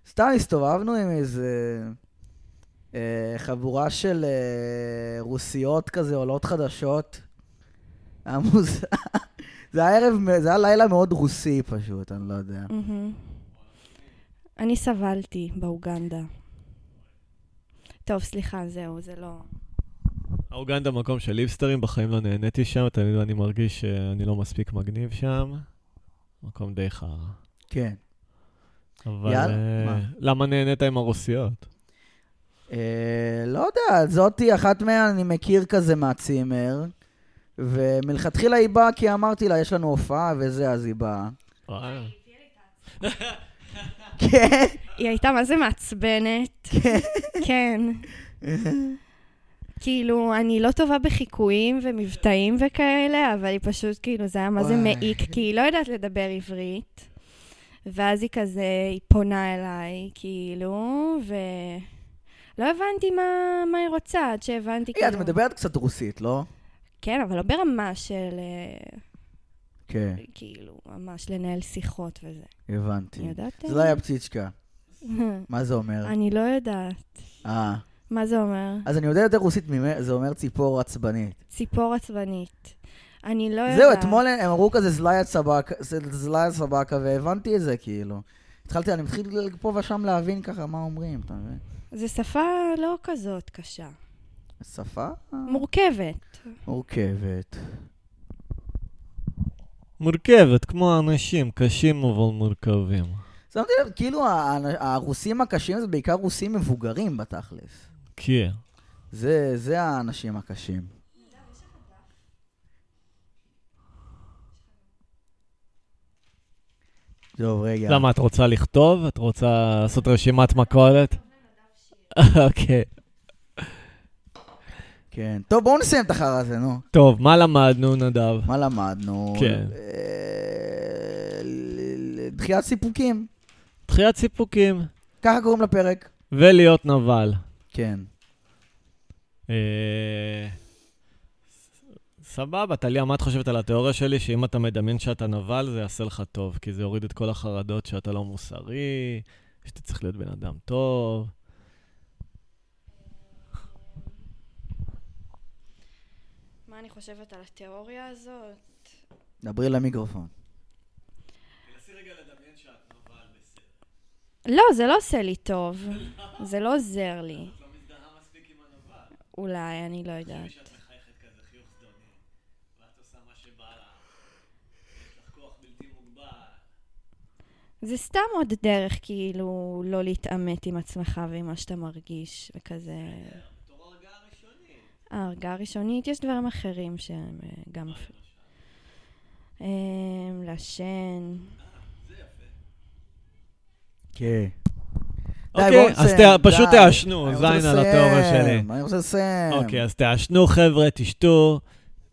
סתם הסתובבנו עם איזה אה, חבורה של אה, רוסיות כזה, עולות חדשות. היה מוזר. זה היה ערב, מ- זה היה לילה מאוד רוסי פשוט, אני לא יודע. מהמם. אני סבלתי באוגנדה. טוב, סליחה, זהו, זה לא... אוגנדה מקום של ליבסטרים, בחיים לא נהניתי שם, תמיד אני מרגיש שאני לא מספיק מגניב שם. מקום די חרא. כן. אבל... יאללה, אה, מה? למה נהנית עם הרוסיות? אה, לא יודע, זאתי אחת מהן אני מכיר כזה מהצימר. ומלכתחילה היא באה כי אמרתי לה, יש לנו הופעה וזה, אז היא באה. אה, כן. היא הייתה מה זה מעצבנת. כן. כאילו, אני לא טובה בחיקויים ומבטאים וכאלה, אבל היא פשוט, כאילו, זה היה מה זה וואי. מעיק, כי היא לא יודעת לדבר עברית. ואז היא כזה, היא פונה אליי, כאילו, ו... לא הבנתי מה, מה היא רוצה, עד שהבנתי, היי, כאילו... את מדברת קצת רוסית, לא? כן, אבל לא ברמה של... אה, כן, כאילו, ממש לנהל שיחות וזה. הבנתי. ידעתם? זה לא היה פציצ'קה. מה זה לא אומר? אני לא יודעת. אה, מה זה אומר? אז אני יודע יותר רוסית ממך, זה אומר ציפור עצבנית. ציפור עצבנית. אני לא יודעת. זהו, אתמול הם אמרו כזה זלאיה סבאקה, זלאיה סבאקה, והבנתי את זה, כאילו. התחלתי, אני מתחיל פה ושם להבין ככה מה אומרים, אתה מבין? זו שפה לא כזאת קשה. שפה מורכבת. מורכבת. מורכבת, כמו אנשים, קשים אבל מורכבים. שמתי לב, כאילו האנ- הרוסים הקשים זה בעיקר רוסים מבוגרים בתכלס. כן. זה, זה האנשים הקשים. טוב, רגע. למה, את רוצה לכתוב? את רוצה לעשות רשימת מכולת? אוקיי. כן. טוב, בואו נסיים את החרא הזה, נו. טוב, מה למדנו, נדב? מה למדנו? כן. אה, ל- ל- דחיית סיפוקים. דחיית סיפוקים. ככה קוראים לפרק. ולהיות נבל. כן. אה, סבבה, טליה, מה את חושבת על התיאוריה שלי? שאם אתה מדמיין שאתה נבל, זה יעשה לך טוב, כי זה יוריד את כל החרדות שאתה לא מוסרי, שאתה צריך להיות בן אדם טוב. מה אני חושבת על התיאוריה הזאת? דברי למיקרופון. לא, זה לא עושה לי טוב. זה לא עוזר לי. אולי, אני לא יודעת. זה סתם עוד דרך, כאילו, לא להתעמת עם עצמך ועם מה שאתה מרגיש, וכזה... אה, הרגעה ראשונית, יש דברים אחרים שהם אה, גם... אפ- אמ, לעשן. כן. אוקיי, אז תה- פשוט תעשנו, זין על התיאוריה שלי. אני רוצה לסיים. אוקיי, אז תעשנו, חבר'ה, תשתו,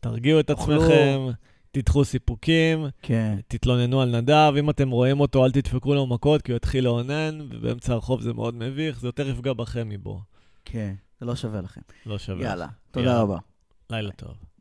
תרגיעו את אוכלו. עצמכם, תדחו סיפוקים, כן. תתלוננו על נדב. אם אתם רואים אותו, אל תדפקו לו מכות, כי הוא יתחיל לאונן, ובאמצע הרחוב זה מאוד מביך, זה יותר יפגע בכם מבו. כן. זה לא שווה לכם. לא שווה. יאללה. יאללה. תודה רבה. לילה טוב.